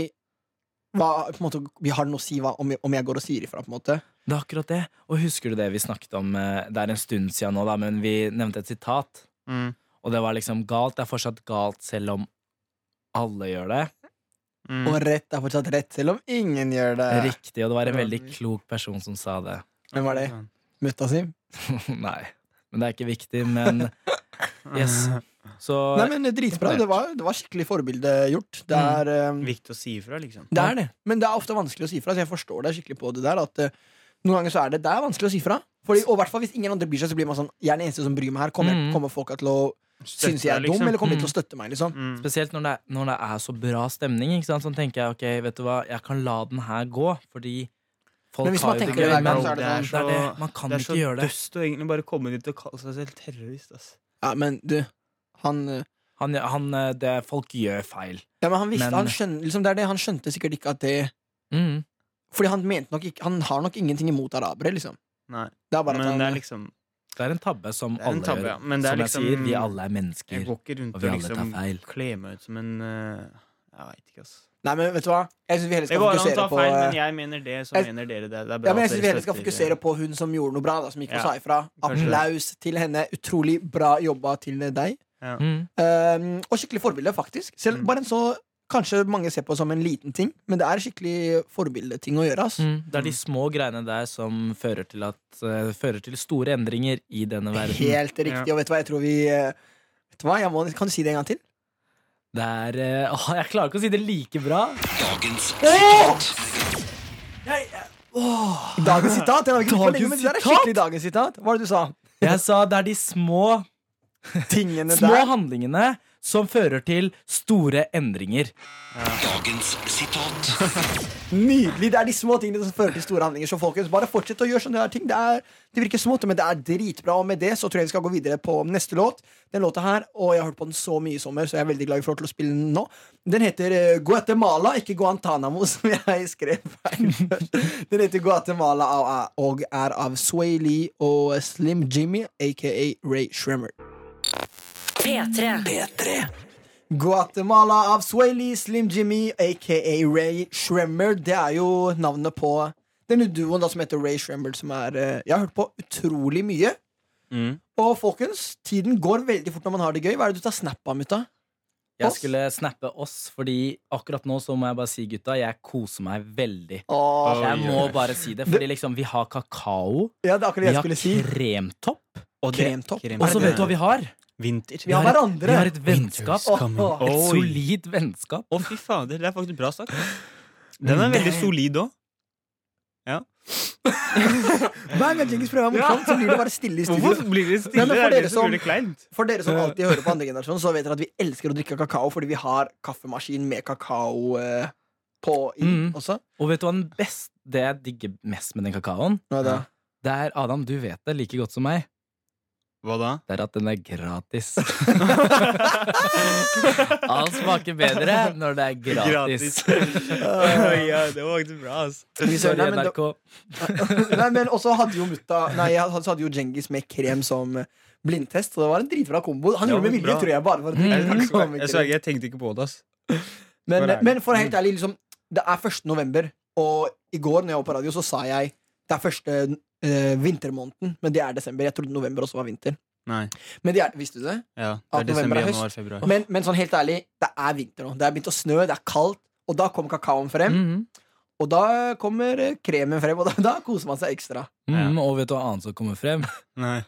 [SPEAKER 2] hva, på en måte, Vi har noe å si hva, om, jeg- om jeg går og sier ifra, på en måte.
[SPEAKER 4] Det er akkurat det. Og husker du det vi snakket om eh, Det er en stund siden nå, da, men vi nevnte et sitat.
[SPEAKER 3] Mm.
[SPEAKER 4] Og det var liksom galt. Det er fortsatt galt selv om alle gjør det.
[SPEAKER 3] Mm.
[SPEAKER 2] Og rett er fortsatt rett, selv om ingen gjør det.
[SPEAKER 4] Riktig. Og det var en
[SPEAKER 3] Ja.
[SPEAKER 4] veldig klok person som sa det. *laughs*
[SPEAKER 2] Hvem var det? Mutta si.
[SPEAKER 4] Nei. Men det er ikke viktig,
[SPEAKER 3] *laughs*
[SPEAKER 4] men Yes.
[SPEAKER 2] Mm.
[SPEAKER 4] Så
[SPEAKER 2] Nei, men eh, Dritbra. Det var, det var skikkelig forbilde gjort. Det
[SPEAKER 3] Mm.
[SPEAKER 2] er eh,
[SPEAKER 3] Viktig å si ifra, liksom.
[SPEAKER 2] Det er det, men det er ofte vanskelig å si fra. Så jeg forstår deg skikkelig på det der. At eh, noen ganger så er det, det er vanskelig å si fra. Fordi, og i hvert fall hvis ingen andre bryr seg, så blir man sånn Jeg er den eneste som bryr meg her. Kommer,
[SPEAKER 4] Mm.
[SPEAKER 2] kommer folk til å synes jeg er dum, eller kommer de til å støtte meg? liksom
[SPEAKER 3] liksom. Mm.
[SPEAKER 4] Spesielt når det, er, når det er så bra stemning, ikke sant? sånn tenker jeg ok, vet du hva, jeg kan la den her gå, fordi folk
[SPEAKER 2] Men hvis man
[SPEAKER 4] har jo det
[SPEAKER 2] tenker
[SPEAKER 4] gøy.
[SPEAKER 2] det hver gang,
[SPEAKER 4] men
[SPEAKER 2] så er det sånn
[SPEAKER 4] det er det. Man kan
[SPEAKER 3] det er så
[SPEAKER 4] ikke gjøre det.
[SPEAKER 3] dust å egentlig bare komme dit og kalle seg selv terrorist. Ass.
[SPEAKER 2] Ja, men du, han eh,
[SPEAKER 4] Han, han, eh, det. Folk gjør feil.
[SPEAKER 2] Ja, men han visste
[SPEAKER 4] Men-
[SPEAKER 2] han, skjøn, liksom, det er det, han skjønte sikkert ikke at det
[SPEAKER 4] Mm.
[SPEAKER 2] Fordi han mente nok ikke Han har nok ingenting imot arabere, liksom.
[SPEAKER 3] Nei.
[SPEAKER 2] Det er bare at
[SPEAKER 3] Men
[SPEAKER 2] han,
[SPEAKER 3] det er liksom
[SPEAKER 4] Det er en tabbe som
[SPEAKER 3] Det er en
[SPEAKER 4] alle
[SPEAKER 3] tabbe,
[SPEAKER 4] gjør.
[SPEAKER 3] ja. Men det er
[SPEAKER 4] som
[SPEAKER 3] liksom
[SPEAKER 4] jeg sier, vi alle er
[SPEAKER 3] Jeg
[SPEAKER 4] mennesker.
[SPEAKER 3] går ikke rundt
[SPEAKER 4] Og
[SPEAKER 3] og,
[SPEAKER 4] vi alle
[SPEAKER 3] liksom
[SPEAKER 4] tar feil.
[SPEAKER 3] kle meg ut som en eh, Jeg veit ikke, ass.
[SPEAKER 2] Nei, men vet du hva? Jeg syns vi heller
[SPEAKER 3] Det
[SPEAKER 2] skal
[SPEAKER 3] går an å
[SPEAKER 2] fokusere
[SPEAKER 3] ta
[SPEAKER 2] på
[SPEAKER 3] feil,
[SPEAKER 2] eh,
[SPEAKER 3] men jeg mener det, så
[SPEAKER 2] jeg-
[SPEAKER 3] mener dere det. Det er bra
[SPEAKER 2] Ja, men jeg
[SPEAKER 3] at
[SPEAKER 2] synes
[SPEAKER 3] dere
[SPEAKER 2] Vi heller skal
[SPEAKER 3] støtter-
[SPEAKER 2] fokusere på hun som gjorde noe bra, da, som gikk og
[SPEAKER 3] Ja.
[SPEAKER 2] sa ifra.
[SPEAKER 3] Kanskje det.
[SPEAKER 2] Applaus til henne. Utrolig bra jobba til deg.
[SPEAKER 4] Mm.
[SPEAKER 2] Um, og skikkelig forbilde, faktisk. Selv
[SPEAKER 3] Mm.
[SPEAKER 2] bare en så Kanskje mange ser på som en liten ting, men det er skikkelig forbildeting å gjøre. ass.
[SPEAKER 4] Mm. Det er de små greiene der som fører til, at, eh, fører til store endringer i denne verden.
[SPEAKER 2] Helt riktig.
[SPEAKER 3] Ja.
[SPEAKER 2] Og vet du hva, jeg tror vi eh, Vet du hva, jeg må, Kan du si det en gang til?
[SPEAKER 4] Det er eh, åh, Jeg klarer ikke å si det like bra.
[SPEAKER 1] Dagens
[SPEAKER 3] *laughs*
[SPEAKER 2] Dagens sitat? Jeg har ikke tenkt på lenge, men det der er
[SPEAKER 4] Dagens sitat?
[SPEAKER 2] skikkelig dagens sitat. Hva var det du sa?
[SPEAKER 4] Jeg sa det er de
[SPEAKER 3] *laughs*
[SPEAKER 4] små
[SPEAKER 2] Tingene
[SPEAKER 4] små
[SPEAKER 2] der.
[SPEAKER 4] handlingene som fører til store endringer.
[SPEAKER 1] Dagens sitat.
[SPEAKER 2] Nydelig. Det er de små tingene som fører til store handlinger. Så folkens, bare fortsett å gjøre sånne her ting. Det, er, det virker smått, men det er dritbra. Og med det så tror jeg vi skal gå videre på neste låt. Den låta her, og jeg har hørt på den så mye i sommer, så jeg er veldig glad vi får lov til å spille den nå. Den heter eh, Guatemala, ikke Guantánamo, *laughs* som jeg skrev feil først. Den heter Guatemala og er- og er av Sway Lee og Slim Jimmy, aka Ray Shremmer.
[SPEAKER 5] P3.
[SPEAKER 2] Guatemala av Swaley Slim Jimmy, aka Ray Shremmer. Det er jo navnet på denne duoen da, som heter Ray Shremmer, som er eh, Jeg har hørt på utrolig mye.
[SPEAKER 3] Mm.
[SPEAKER 2] Og folkens, tiden går veldig fort når man har det gøy. Hva er det du tar snap av, mutta?
[SPEAKER 4] Jeg
[SPEAKER 2] Oss?
[SPEAKER 4] skulle snappe oss, fordi akkurat nå så må jeg bare si, gutta, jeg koser meg veldig.
[SPEAKER 2] Åh,
[SPEAKER 3] Oi,
[SPEAKER 4] Jeg må
[SPEAKER 3] oi.
[SPEAKER 4] bare si det, fordi liksom, vi har kakao,
[SPEAKER 2] ja, det er akkurat
[SPEAKER 4] vi
[SPEAKER 2] det jeg
[SPEAKER 4] har
[SPEAKER 2] skulle si.
[SPEAKER 4] kremtopp,
[SPEAKER 3] Og det-
[SPEAKER 2] Kremtopp.
[SPEAKER 3] krem-
[SPEAKER 4] og så Altså, vet du hva vi har?
[SPEAKER 3] Vinter.
[SPEAKER 2] Vi har
[SPEAKER 4] Vi har
[SPEAKER 2] hverandre.
[SPEAKER 4] et vennskap.
[SPEAKER 2] Åh, åh.
[SPEAKER 4] Et
[SPEAKER 3] Oi.
[SPEAKER 4] solid vennskap.
[SPEAKER 3] Å, fy fader, det er faktisk bra sagt. Den er veldig solid òg.
[SPEAKER 2] Hver gang Djengis prøver å være morsom, så blir det bare stille i studio.
[SPEAKER 3] Hvorfor blir det
[SPEAKER 2] Ja,
[SPEAKER 3] stille?
[SPEAKER 2] men
[SPEAKER 3] Det
[SPEAKER 2] for
[SPEAKER 3] er
[SPEAKER 2] dere
[SPEAKER 3] det som
[SPEAKER 2] som-
[SPEAKER 3] blir det kleint.
[SPEAKER 2] For dere som alltid hører på andre generasjon, så vet dere at vi elsker å drikke kakao fordi vi har kaffemaskin med kakao eh, på i
[SPEAKER 4] Mm.
[SPEAKER 2] også.
[SPEAKER 4] Og vet du hva den best, det jeg digger mest med den kakaoen?
[SPEAKER 2] Hva er det?
[SPEAKER 4] Det er, Adam, du vet det like godt som meg,
[SPEAKER 3] Hva da?
[SPEAKER 4] det er at den er gratis. Alt smaker bedre når det er *laughs* gratis.
[SPEAKER 3] Oi, ja, det var faktisk bra, ass.
[SPEAKER 2] Vi ser-
[SPEAKER 4] Sorry,
[SPEAKER 2] nei, men da-
[SPEAKER 4] NRK.
[SPEAKER 2] *laughs* Nei, men også hadde jo mutta Nei, han hadde jo Djengis med krem som blindtest, så det var en dritbra kombo. Han
[SPEAKER 3] Ja,
[SPEAKER 2] gjorde det med
[SPEAKER 3] men bra.
[SPEAKER 2] vilje, tror jeg, bare for at det
[SPEAKER 4] Mm.
[SPEAKER 2] ikke
[SPEAKER 3] Jeg,
[SPEAKER 2] skulle komme
[SPEAKER 3] jeg,
[SPEAKER 2] krem.
[SPEAKER 3] sverger, jeg tenkte ikke Mm. på det, ass.
[SPEAKER 2] men,
[SPEAKER 3] Hvor er det?
[SPEAKER 2] men for å være helt ærlig, liksom, det er 1. november, og i går når jeg var på radio, så sa jeg det er første eh, vintermåneden, men det er desember. Jeg trodde november også var vinter.
[SPEAKER 3] Nei.
[SPEAKER 2] Men det er, visste du det?
[SPEAKER 3] Ja, det
[SPEAKER 2] At
[SPEAKER 3] er desember,
[SPEAKER 2] november er høst.
[SPEAKER 3] januar, februar.
[SPEAKER 2] Men, men sånn helt ærlig, det er vinter nå. Det er begynt å snø, det er kaldt, og da kommer kakaoen frem.
[SPEAKER 4] Mhm.
[SPEAKER 2] Og da kommer eh, kremen frem, og da, da
[SPEAKER 4] Mhm.
[SPEAKER 2] koser man seg ekstra.
[SPEAKER 4] Mm, og vet du hva annet som kommer frem?
[SPEAKER 3] Nei.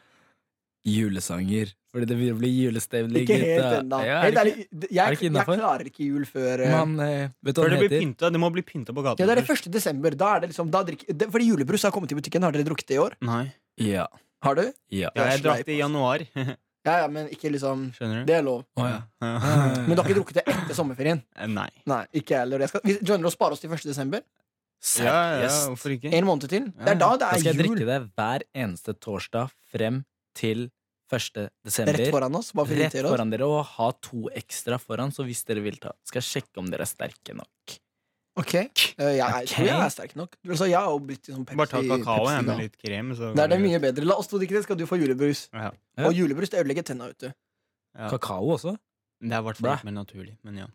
[SPEAKER 4] Julesanger Fordi det begynner å bli julestemning.
[SPEAKER 2] Ikke helt
[SPEAKER 4] gutta.
[SPEAKER 2] ennå.
[SPEAKER 4] Ja, er
[SPEAKER 2] Helt
[SPEAKER 4] det
[SPEAKER 2] ærlig, jeg,
[SPEAKER 4] ikke- er det
[SPEAKER 2] jeg,
[SPEAKER 4] ikke innenfor?
[SPEAKER 2] klarer ikke jul før eh,
[SPEAKER 4] Man, eh, vet du hva
[SPEAKER 3] Før
[SPEAKER 4] den
[SPEAKER 3] det blir
[SPEAKER 4] heter?
[SPEAKER 3] pynta. Det må bli pynta på gaten.
[SPEAKER 2] Ja, det er det
[SPEAKER 3] først.
[SPEAKER 2] 1. desember. Da er det liksom, da drikker, det, fordi julebrus har kommet i butikken. Har dere drukket det i år?
[SPEAKER 3] Nei.
[SPEAKER 4] Ja.
[SPEAKER 2] Har du?
[SPEAKER 4] ja.
[SPEAKER 3] Ja, jeg
[SPEAKER 2] Det er
[SPEAKER 3] drakk
[SPEAKER 2] sleip,
[SPEAKER 3] det i januar. *laughs*
[SPEAKER 2] Ja, ja, men ikke liksom
[SPEAKER 3] Skjønner du?
[SPEAKER 2] Det er lov.
[SPEAKER 4] Å, ja.
[SPEAKER 3] Ja.
[SPEAKER 2] Men du har ikke drukket det etter sommerferien?
[SPEAKER 3] Eh, Nei.
[SPEAKER 2] Nei, ikke jeg heller. Jeg skal, vi joiner å spare oss til 1. desember.
[SPEAKER 3] Ja, ja,
[SPEAKER 4] Seriøst?
[SPEAKER 3] hvorfor ikke?
[SPEAKER 2] En måned til. Det er da det
[SPEAKER 4] Da skal
[SPEAKER 2] er
[SPEAKER 4] jeg drikke
[SPEAKER 2] jul
[SPEAKER 4] det hver eneste torsdag frem til 1. desember.
[SPEAKER 2] rett foran oss. Bare for å
[SPEAKER 4] Rett
[SPEAKER 2] irritere oss.
[SPEAKER 4] foran dere, og ha to ekstra foran, så hvis dere vil ta Skal jeg sjekke om dere er sterke nok.
[SPEAKER 2] Ok. Eh, jeg, jeg tror jeg er sterk nok. Du, Altså, jeg har jo blitt sånn Pepsi.
[SPEAKER 3] Bare ta kakao jeg, med
[SPEAKER 2] Pepsi-gal.
[SPEAKER 3] litt krem. Så
[SPEAKER 2] Det er det er mye bedre. La oss to drikke det, skal du få julebrus.
[SPEAKER 3] Ja.
[SPEAKER 4] Ja.
[SPEAKER 2] Og julebrus det ødelegger tenna ute.
[SPEAKER 3] Ja.
[SPEAKER 4] Kakao også?
[SPEAKER 3] Det er i hvert fall
[SPEAKER 4] Bra.
[SPEAKER 3] litt mer naturlig, men ja.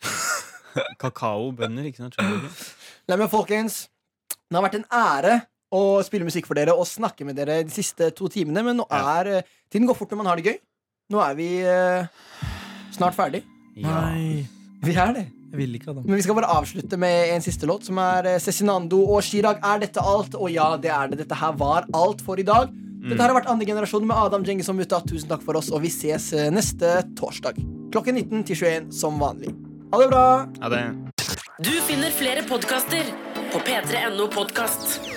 [SPEAKER 3] *laughs* Kakaobønner, ikke sant? Skjønner du ikke?
[SPEAKER 2] Nei, men folkens, det har vært en ære å spille musikk for dere og snakke med dere de siste to timene, men nå
[SPEAKER 3] Ja.
[SPEAKER 2] er eh, Tiden går fort når man har det gøy. Nå er vi eh, snart ferdig.
[SPEAKER 3] Ja.
[SPEAKER 2] *laughs* Vi er det.
[SPEAKER 4] jeg vil ikke ha dem.
[SPEAKER 2] Men vi skal bare avslutte med en siste låt, som er eh, Cezinando og Chirag. Er dette alt? Og ja, det er det. Dette her var alt for i dag. Dette her har vært andre generasjon med Adam Djengis som mutta. Tusen takk for oss, og vi ses eh, neste torsdag klokken 19 til 21 som vanlig. Ha det bra!
[SPEAKER 3] Ja, det
[SPEAKER 5] Du finner flere podkaster på p3.no podkast.